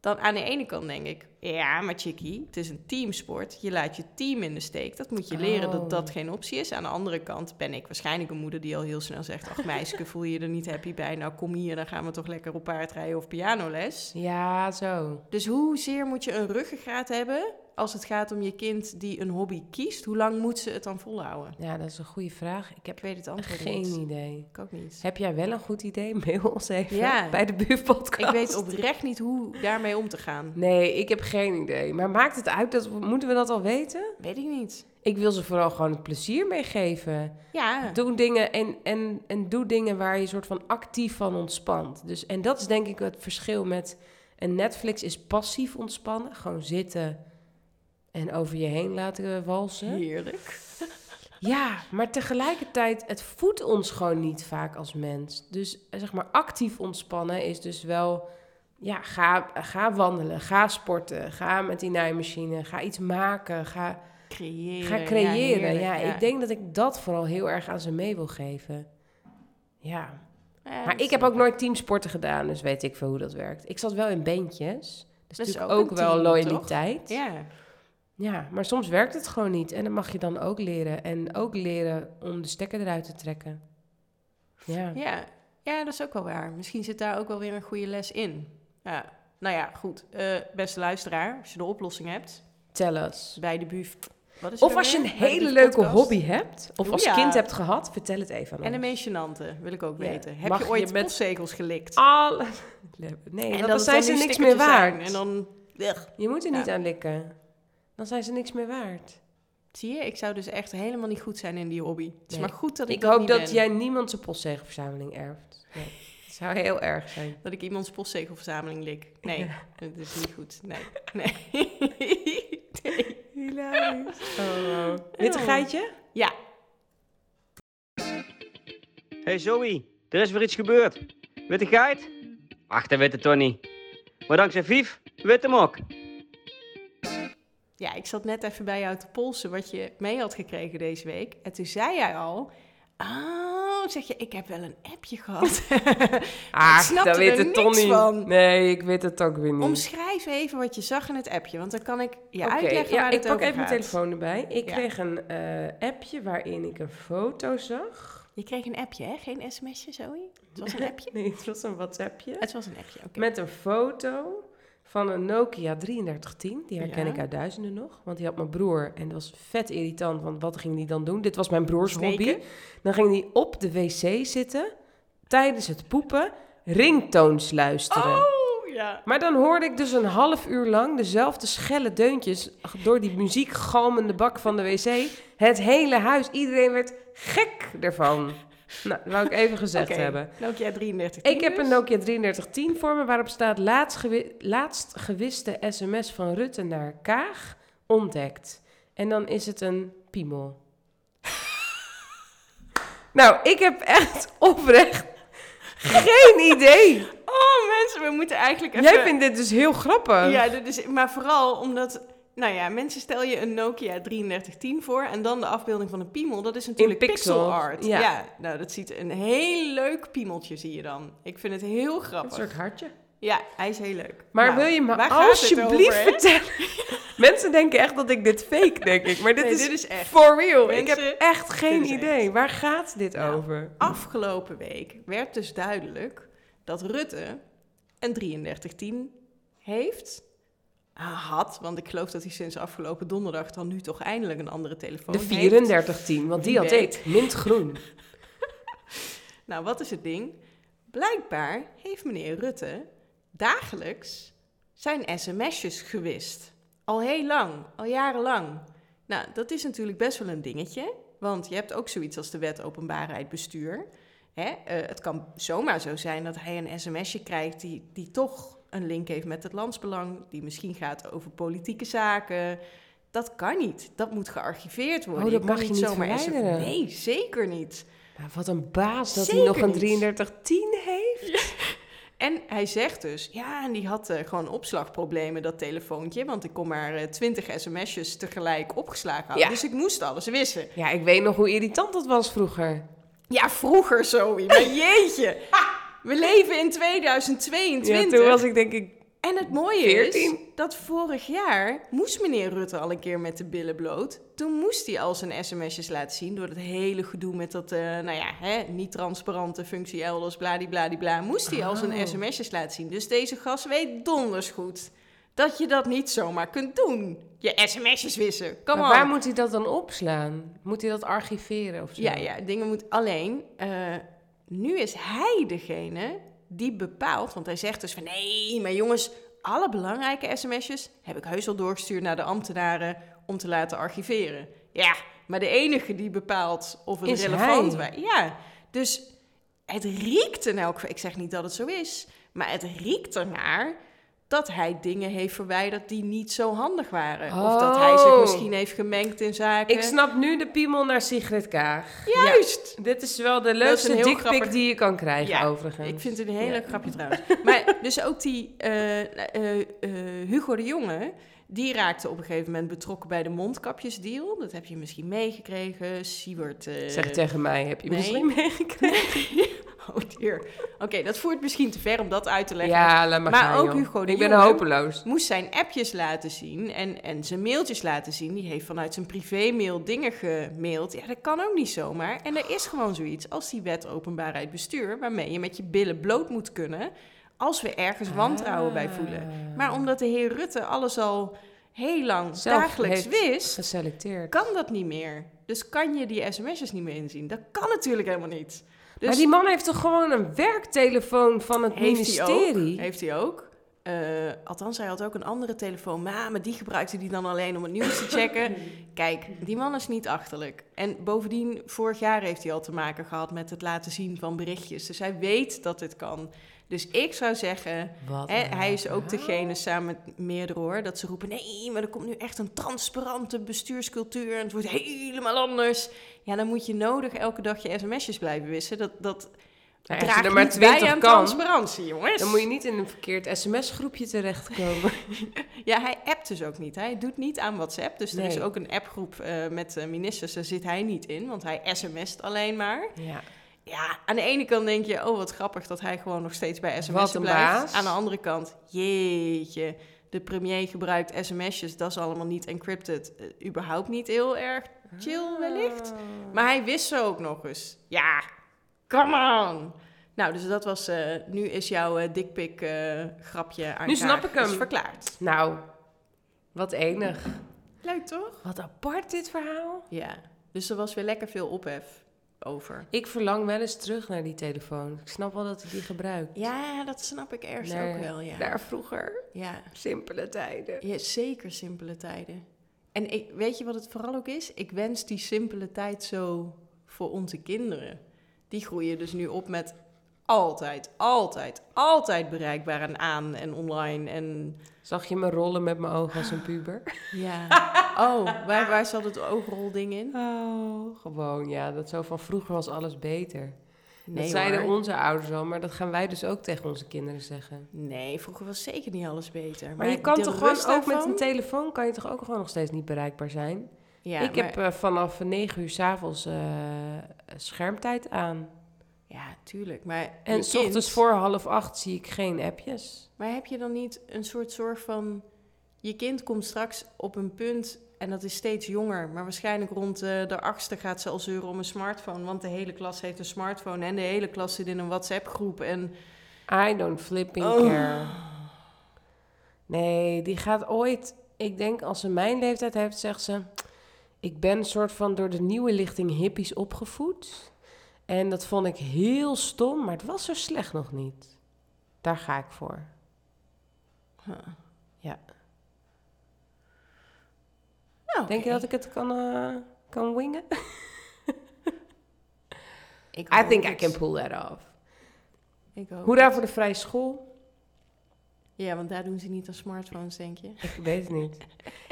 Dan aan de ene kant denk ik, ja, maar chickie, het is een teamsport. Je laat je team in de steek. Dat moet je leren Oh. dat dat geen optie is. Aan de andere kant ben ik waarschijnlijk een moeder die al heel snel zegt... ach meisje, voel je je er niet happy bij? Nou, kom hier, dan gaan we toch lekker op paardrijden of pianoles. Ja, zo. Dus hoezeer moet je een ruggengraat hebben als het gaat om je kind die een hobby kiest? Hoe lang moet ze het dan volhouden? Ja, dat is een goede vraag. Ik heb Ik weet het antwoord geen niet. idee. Ik ook niet. [LAUGHS] Heb jij wel een goed idee? [LAUGHS] Mail ons even Ja. bij de buurpodcast. Ik weet oprecht niet hoe daarmee om te gaan. Nee, ik heb geen idee. Maar maakt het uit? Dat, moeten we dat al weten? Weet ik niet. Ik wil ze vooral gewoon het plezier meegeven. Ja. Doe dingen en, en, en doe dingen waar je soort van actief van ontspant. Dus, en dat is denk ik het verschil met een Netflix is passief ontspannen. Gewoon zitten en over je heen laten walsen. Heerlijk. Ja, maar tegelijkertijd, het voedt ons gewoon niet vaak als mens. Dus eh, zeg maar, actief ontspannen is dus wel... Ja, ga, ga wandelen, ga sporten, ga met die naaimachine, ga iets maken, ga... Creëren. Ga creëren. Ja, ik denk dat ik dat vooral heel erg aan ze mee wil geven. Ja. Maar ik heb ook nooit teamsporten gedaan, dus weet ik veel hoe dat werkt. Ik zat wel in bandjes. Dus Dat is natuurlijk ook ook, een wel team, loyaliteit. Ja. Ja, maar soms werkt het gewoon niet. En dat mag je dan ook leren. En ook leren om de stekker eruit te trekken. Ja. Ja. ja, dat is ook wel waar. Misschien zit daar ook wel weer een goede les in. Ja. Nou ja, goed. Eh, beste luisteraar, als je de oplossing hebt, Tell us. bij de buuf. Wat is het Of ook als je een weer? Bij de hele Buuf leuke podcast. hobby hebt. Of als Ja. kind hebt gehad, vertel het even aan En de ons. meest gênante, wil ik ook Ja. weten. Heb Mag je ooit je met- postzegels gelikt? Alle... [LAUGHS] Nee, en want dat dan het zijn nu ze niks meer stickertjes waard. zijn En dan, Ugh. Je moet er Ja. niet aan likken. Dan zijn ze niks meer waard. zie je, ik zou dus echt helemaal niet goed zijn in die hobby. Het is Nee. maar goed dat ik, Ik hoop niet dat ben. jij niemand zijn [LAUGHS] postzegelverzameling erft. Nee, dat zou heel erg zijn. Dat ik iemands postzegelverzameling lik. Nee, dat is niet goed. Nee. nee. [LAUGHS] Hilarisch. Oh. Witte geitje? Ja, Hey Zoe, er is weer iets gebeurd. Witte geit? Ach, dat weet het toch niet. Maar dankzij Vief weet hem ook. ja, ik zat net even bij jou te polsen wat je mee had gekregen deze week. En toen zei jij al... Oh, zeg je, ik heb wel een appje [LAUGHS] gehad. snapte dat weet er het toch niks niet. van. Nee, ik weet het ook weer niet. Omschrijf even wat je zag in het appje, want dan kan ik je Oké, uitleggen ja, waar ik het pak over even mijn gaat. telefoon erbij. Ik Ja. kreeg een eh, appje waarin ik een foto zag. [LAUGHS] Je kreeg een appje, hè? Geen sms'je, Zoe? Het was een appje? Nee, het was een WhatsAppje. Het was een appje, oké. Met een foto van een Nokia 3310. Die herken Ja. ik uit duizenden nog. Want die had mijn broer. En dat was vet irritant. Want wat ging die dan doen? Dit was mijn broers hobby. Steken. Dan ging hij op de wc zitten. Tijdens het poepen. Ringtoons luisteren. Oh, ja. Maar dan hoorde ik dus een half uur lang dezelfde schelle deuntjes door die muziekgalmende bak van de wc. Het hele huis, iedereen werd gek ervan. Nou, dat wou ik even gezegd Oké, hebben. Nokia 33. Ik heb een Nokia 3310 voor me waarop staat laatst, gewi- laatst gewiste sms van Rutte naar Kaag ontdekt. En dan is het een piemel. [LAUGHS] nou, ik heb echt oprecht geen idee. Oh, mensen, we moeten eigenlijk even... Jij vindt dit dus heel grappig. Ja, dit is, maar vooral omdat... Nou ja, mensen stel je een Nokia 3310 voor en dan de afbeelding van een piemel. Dat is natuurlijk In pixel. pixel, art. ja. nou dat ziet een heel leuk piemeltje zie je dan. Ik vind het heel Een grappig. soort hartje. Ja, hij is heel leuk. Maar Nou, wil je me waar gaat het alsjeblieft over, hè? vertellen? [LAUGHS] Mensen denken echt dat ik dit fake denk ik, maar dit, Nee, is, dit is echt. for real. ik Mensen, heb echt Nou, oh, geen dit is idee. Waar gaat dit over? Afgelopen week werd dus duidelijk dat Rutte een 3310 heeft. Had, want ik geloof dat hij sinds afgelopen donderdag dan nu toch eindelijk een andere telefoon De heeft. 3410, want die Wie had weet. ik. Mintgroen. Nou, wat is het ding? Blijkbaar heeft meneer Rutte dagelijks zijn sms'jes gewist. Al heel lang, al jarenlang. Nou, dat is natuurlijk best wel een dingetje. Want je hebt ook zoiets als de wet openbaarheid bestuur. Hè? eh, het kan zomaar zo zijn dat hij een sms'je krijgt die, die toch een link heeft met het landsbelang. Die misschien gaat over politieke zaken. Dat kan niet. Dat moet gearchiveerd worden. Oh, dat kan mag je niet sm- verwijderen. Nee, zeker niet. Maar wat een baas dat Zeker hij nog een niet. 3310 heeft. En hij zegt dus, ja, en die had eh, gewoon opslagproblemen, dat telefoontje. Want ik kon maar eh, twintig sms'jes tegelijk opgeslagen houden. Ja. Dus ik moest alles wissen. Ja, ik weet nog hoe irritant dat was vroeger. Ja, vroeger, Zoe. [LAUGHS] Maar jeetje. We leven in 2022. Ja, toen was ik denk ik... En het mooie is 14. dat vorig jaar moest meneer Rutte al een keer met de billen bloot. Toen moest hij al zijn sms'jes laten zien door het hele gedoe met dat, eh, nou ja, hè, niet transparante functie elders, bladibladibla. Moest hij al zijn Oh. sms'jes laten zien. Dus deze gast weet donders goed dat je dat niet zomaar kunt doen. Je sms'jes wissen, Maar come waar on. moet hij dat dan opslaan? Moet hij dat archiveren of zo? Ja, ja, dingen moet... Alleen, eh, nu is hij degene die bepaalt... Want hij zegt dus van... Nee, maar jongens, alle belangrijke sms'jes... heb ik heus al doorgestuurd naar de ambtenaren... om te laten archiveren. Ja, maar de enige die bepaalt of het Is relevant hij. was... Ja, dus het riekt in elk geval... Ik zeg niet dat het zo is, maar het riekt ernaar... dat hij dingen heeft verwijderd die niet zo handig waren. Of dat hij zich Oh. misschien heeft gemengd in zaken. Ik snap nu de piemel naar Sigrid Kaag. Juist! Dit is wel de is een leukste heel dikpik grappig- die je kan krijgen, Ja, overigens. Ik vind het een heel Ja. leuk grapje trouwens. Maar dus ook die eh, eh, eh, Hugo de Jonge, die raakte op een gegeven moment betrokken bij de mondkapjesdeal. Dat heb je misschien meegekregen. Siewert... eh, Zeg tegen mij, heb je nee. misschien meegekregen? [LAUGHS] Oh dear. Oké, dat voert misschien te ver om dat uit te leggen. Ja, laat maar Maar gaan, ook joh. Hugo de Ik ben Jonge. hopeloos. Moest zijn appjes laten zien en, en zijn mailtjes laten zien. Die heeft vanuit zijn privémail dingen gemaild. Ja, dat kan ook niet zomaar. En er is gewoon zoiets als die wet openbaarheid bestuur... waarmee je met je billen bloot moet kunnen... als we ergens wantrouwen bij voelen. Ah. Maar omdat de heer Rutte alles al heel lang Zelf dagelijks heeft wist, Geselecteerd. kan dat niet meer. Dus kan je die sms'jes niet meer inzien. Dat kan natuurlijk helemaal niet. Dus Maar die man heeft toch gewoon een werktelefoon van het heeft hij ook. ministerie? Heeft hij ook. Eh, althans, hij had ook een andere telefoon. Maar, maar die gebruikte hij dan alleen om het nieuws te [LAUGHS] checken. Kijk, die man is niet achterlijk. En bovendien, vorig jaar heeft hij al te maken gehad met het laten zien van berichtjes. Dus hij weet dat dit kan. Dus ik zou zeggen, Wat Hè, een hij is ook verhaal. degene samen met meerdere hoor, dat ze roepen: nee, maar er komt nu echt een transparante bestuurscultuur en het wordt helemaal anders. Ja, dan moet je nodig elke dag je sms'jes blijven wissen. Dat, dat Nou, als draagt je er maar niet bij 20 aan kan, transparantie, jongens. Dan moet je niet in een verkeerd sms-groepje terechtkomen. Ja, hij appt dus ook niet. Hij doet niet aan WhatsApp. Dus er is Nee. ook een appgroep eh, met eh, ministers, daar zit hij niet in, want hij sms't alleen maar. ja. [LAUGHS] Ja, aan de ene kant denk je, oh wat grappig dat hij gewoon nog steeds bij sms'en Wat blijft. een baas. Aan de andere kant, jeetje, de premier gebruikt sms'jes, dat is allemaal niet encrypted. Eh, überhaupt niet heel erg Ah. chill wellicht. Maar hij wist ze ook nog eens. Ja, come on! Nou, dus dat was, eh, nu is jouw eh dikpik eh, grapje aan Nu Kaag snap ik hem. is verklaard. Nou, wat enig. Leuk toch? Wat apart dit verhaal. Ja, dus er was weer lekker veel ophef over. Ik verlang wel eens terug naar die telefoon. Ik snap wel dat hij die gebruikt. Ja, dat snap ik ergens Naar- ook wel, ja. Daar vroeger. Ja. Simpele tijden. Ja, zeker simpele tijden. En ik, weet je wat het vooral ook is? Ik wens die simpele tijd zo voor onze kinderen. Die groeien dus nu op met altijd, altijd, altijd bereikbaar en aan en online. En Zag je me rollen met mijn ogen als een puber? ja. [LAUGHS] Oh, waar, waar zat het oogrol-ding in? Oh, gewoon ja. Dat zo van vroeger was alles beter. dat zeiden hoor. onze ouders al, maar dat gaan wij dus ook tegen onze kinderen zeggen. Nee, vroeger was zeker niet alles beter. Maar, Maar, je kan de toch gewoon rust ook met daarvan? een telefoon kan je toch ook gewoon nog steeds niet bereikbaar zijn? Ja, ik maar- heb eh, vanaf 9 uur s'avonds eh schermtijd aan. ja, tuurlijk. Maar je En s ochtends kind- voor half acht zie ik geen appjes. Maar heb je dan niet een soort zorg van... je kind komt straks op een punt en dat is steeds jonger... maar waarschijnlijk rond eh, de achtste gaat ze al zeuren om een smartphone... want de hele klas heeft een smartphone en de hele klas zit in een WhatsApp-groep. En I don't flipping Oh. care. Nee, die gaat ooit... Ik denk als ze mijn leeftijd heeft, zegt ze... Ik ben een soort van door de nieuwe lichting hippies opgevoed. En dat vond ik heel stom, maar het was zo slecht nog niet. Daar ga ik voor. Huh. Ja. Nou, Denk je oké. dat ik het kan, eh, kan wingen? Ik I hoop think I het. can pull that off. Ik hoop Hoera het. voor de vrije school. Ja, want daar doen ze niet aan smartphones, denk je? Ik weet het niet.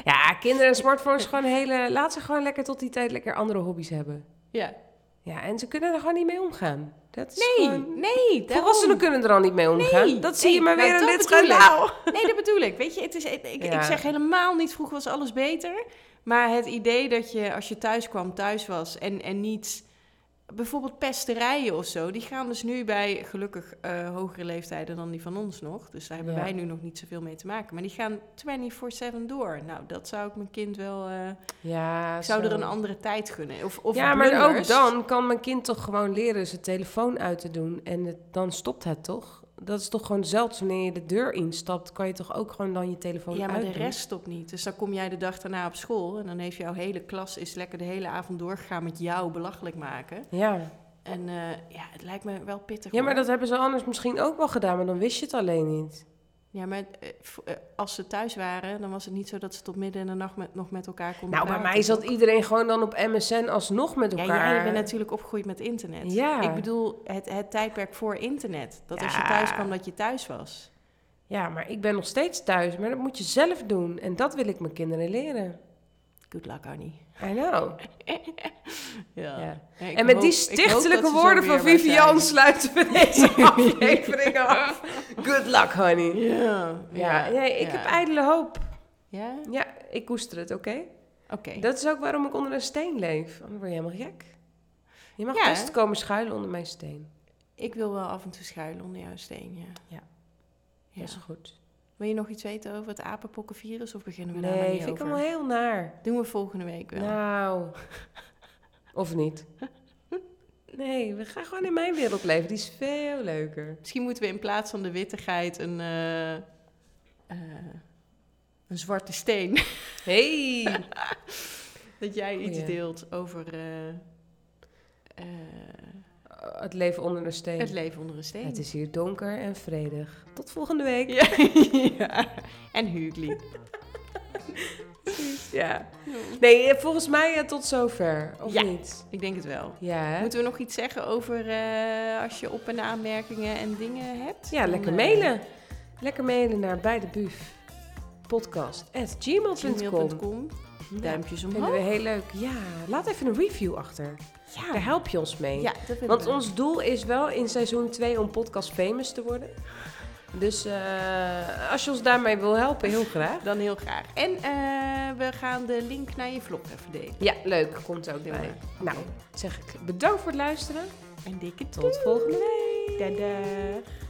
Ja, kinderen en smartphones gewoon hele... Laat ze gewoon lekker tot die tijd lekker andere hobby's hebben. Ja. Ja, en ze kunnen er gewoon niet mee omgaan. Dat is Nee, gewoon... nee. daarom. Volwassenen kunnen er al niet mee omgaan. Nee, dat zie nee, je maar nou, weer in dat dit bedoel ik. nou. kanaal. Nee, dat bedoel ik. Weet je, het is, ik, ik- Ja. ik zeg helemaal niet vroeger was alles beter. Maar het idee dat je als je thuis kwam, thuis was en, en niet... Bijvoorbeeld pesterijen of zo, die gaan dus nu bij gelukkig eh, hogere leeftijden dan die van ons nog. Dus daar hebben Ja. wij nu nog niet zoveel mee te maken. Maar die gaan 24-7 door. Nou, dat zou ik mijn kind wel... eh, Ja, ik zou zo. er een andere tijd gunnen. Of, of ja, maar blunders. ook dan kan mijn kind toch gewoon leren zijn telefoon uit te doen. En het, dan stopt het toch? Dat is toch gewoon zelfs wanneer je de deur instapt, kan je toch ook gewoon dan je telefoon Ja, maar de uitdoen? rest stopt niet. Dus dan kom jij de dag daarna op school en dan heeft jouw hele klas is lekker de hele avond doorgegaan met jou belachelijk maken. Ja. En eh, ja, het lijkt me wel pittig. ja, maar hoor. dat hebben ze anders misschien ook wel gedaan, maar dan wist je het alleen niet. Ja, maar eh, v- eh, als ze thuis waren, dan was het niet zo dat ze tot midden in de nacht met, nog met elkaar konden Nou, bij praten, mij zat toch? iedereen gewoon dan op MSN alsnog met Ja, elkaar. jij bent natuurlijk opgegroeid met internet. Ja. Ik bedoel, het, het tijdperk voor internet. Dat als je Ja. thuis kwam, dat je thuis was. Ja, maar ik ben nog steeds thuis, maar dat moet je zelf doen. En dat wil ik mijn kinderen leren. Good luck, Annie. I know. Ja. en met die stichtelijke stichtelijke woorden van Vivian sluiten we [LAUGHS] deze aflevering af. Good luck, honey. Ja, Ja, nee, ik heb ijdele hoop. Ja? Ja, ik koester het, oké? Oké. Dat is ook waarom ik onder een steen leef. Dan word je helemaal gek. Je mag Ja, best hè? komen schuilen onder mijn steen. Ik wil wel af en toe schuilen onder jouw steen, ja. Ja. Ja. Dat is goed. Wil je nog iets weten over het apenpokkenvirus of beginnen we daar maar Nee, niet vind ik over? allemaal heel naar. Doen we volgende week wel. Nou, of niet? Nee, we gaan gewoon in mijn wereld leven. Die is veel leuker. Misschien moeten we in plaats van de wittigheid een, eh, eh, een zwarte steen... [LAUGHS] Hey! dat jij iets Goeie. deelt over eh, eh, Het leven onder een steen. het leven onder een steen. Het is hier donker en vredig. Tot volgende week. Ja, [LAUGHS] ja. En Hugli. Ja. Nee, eh, volgens mij eh, tot zover. Of Ja. niet? Ik denk het wel. Ja. hè? Moeten we nog iets zeggen over eh, als je op- en aanmerkingen en dingen hebt? Ja, Dan, lekker eh, mailen. Lekker mailen naar bij de buf. Podcast at gmail.com. gmail.com. Duimpjes Vinden we omhoog. heel leuk. Ja, laat even een review achter. Daar help je ons mee. Ja, dat willen Want we. ons doel is wel in seizoen 2 om podcast famous te worden. Dus eh, als je ons daarmee wil helpen, heel graag. Dan heel graag. En eh, we gaan de link naar je vlog even delen. Ja, leuk. Komt ook Doen bij. we. Nou, zeg ik bedankt voor het luisteren. Een dikke Tot volgende week. Dadah.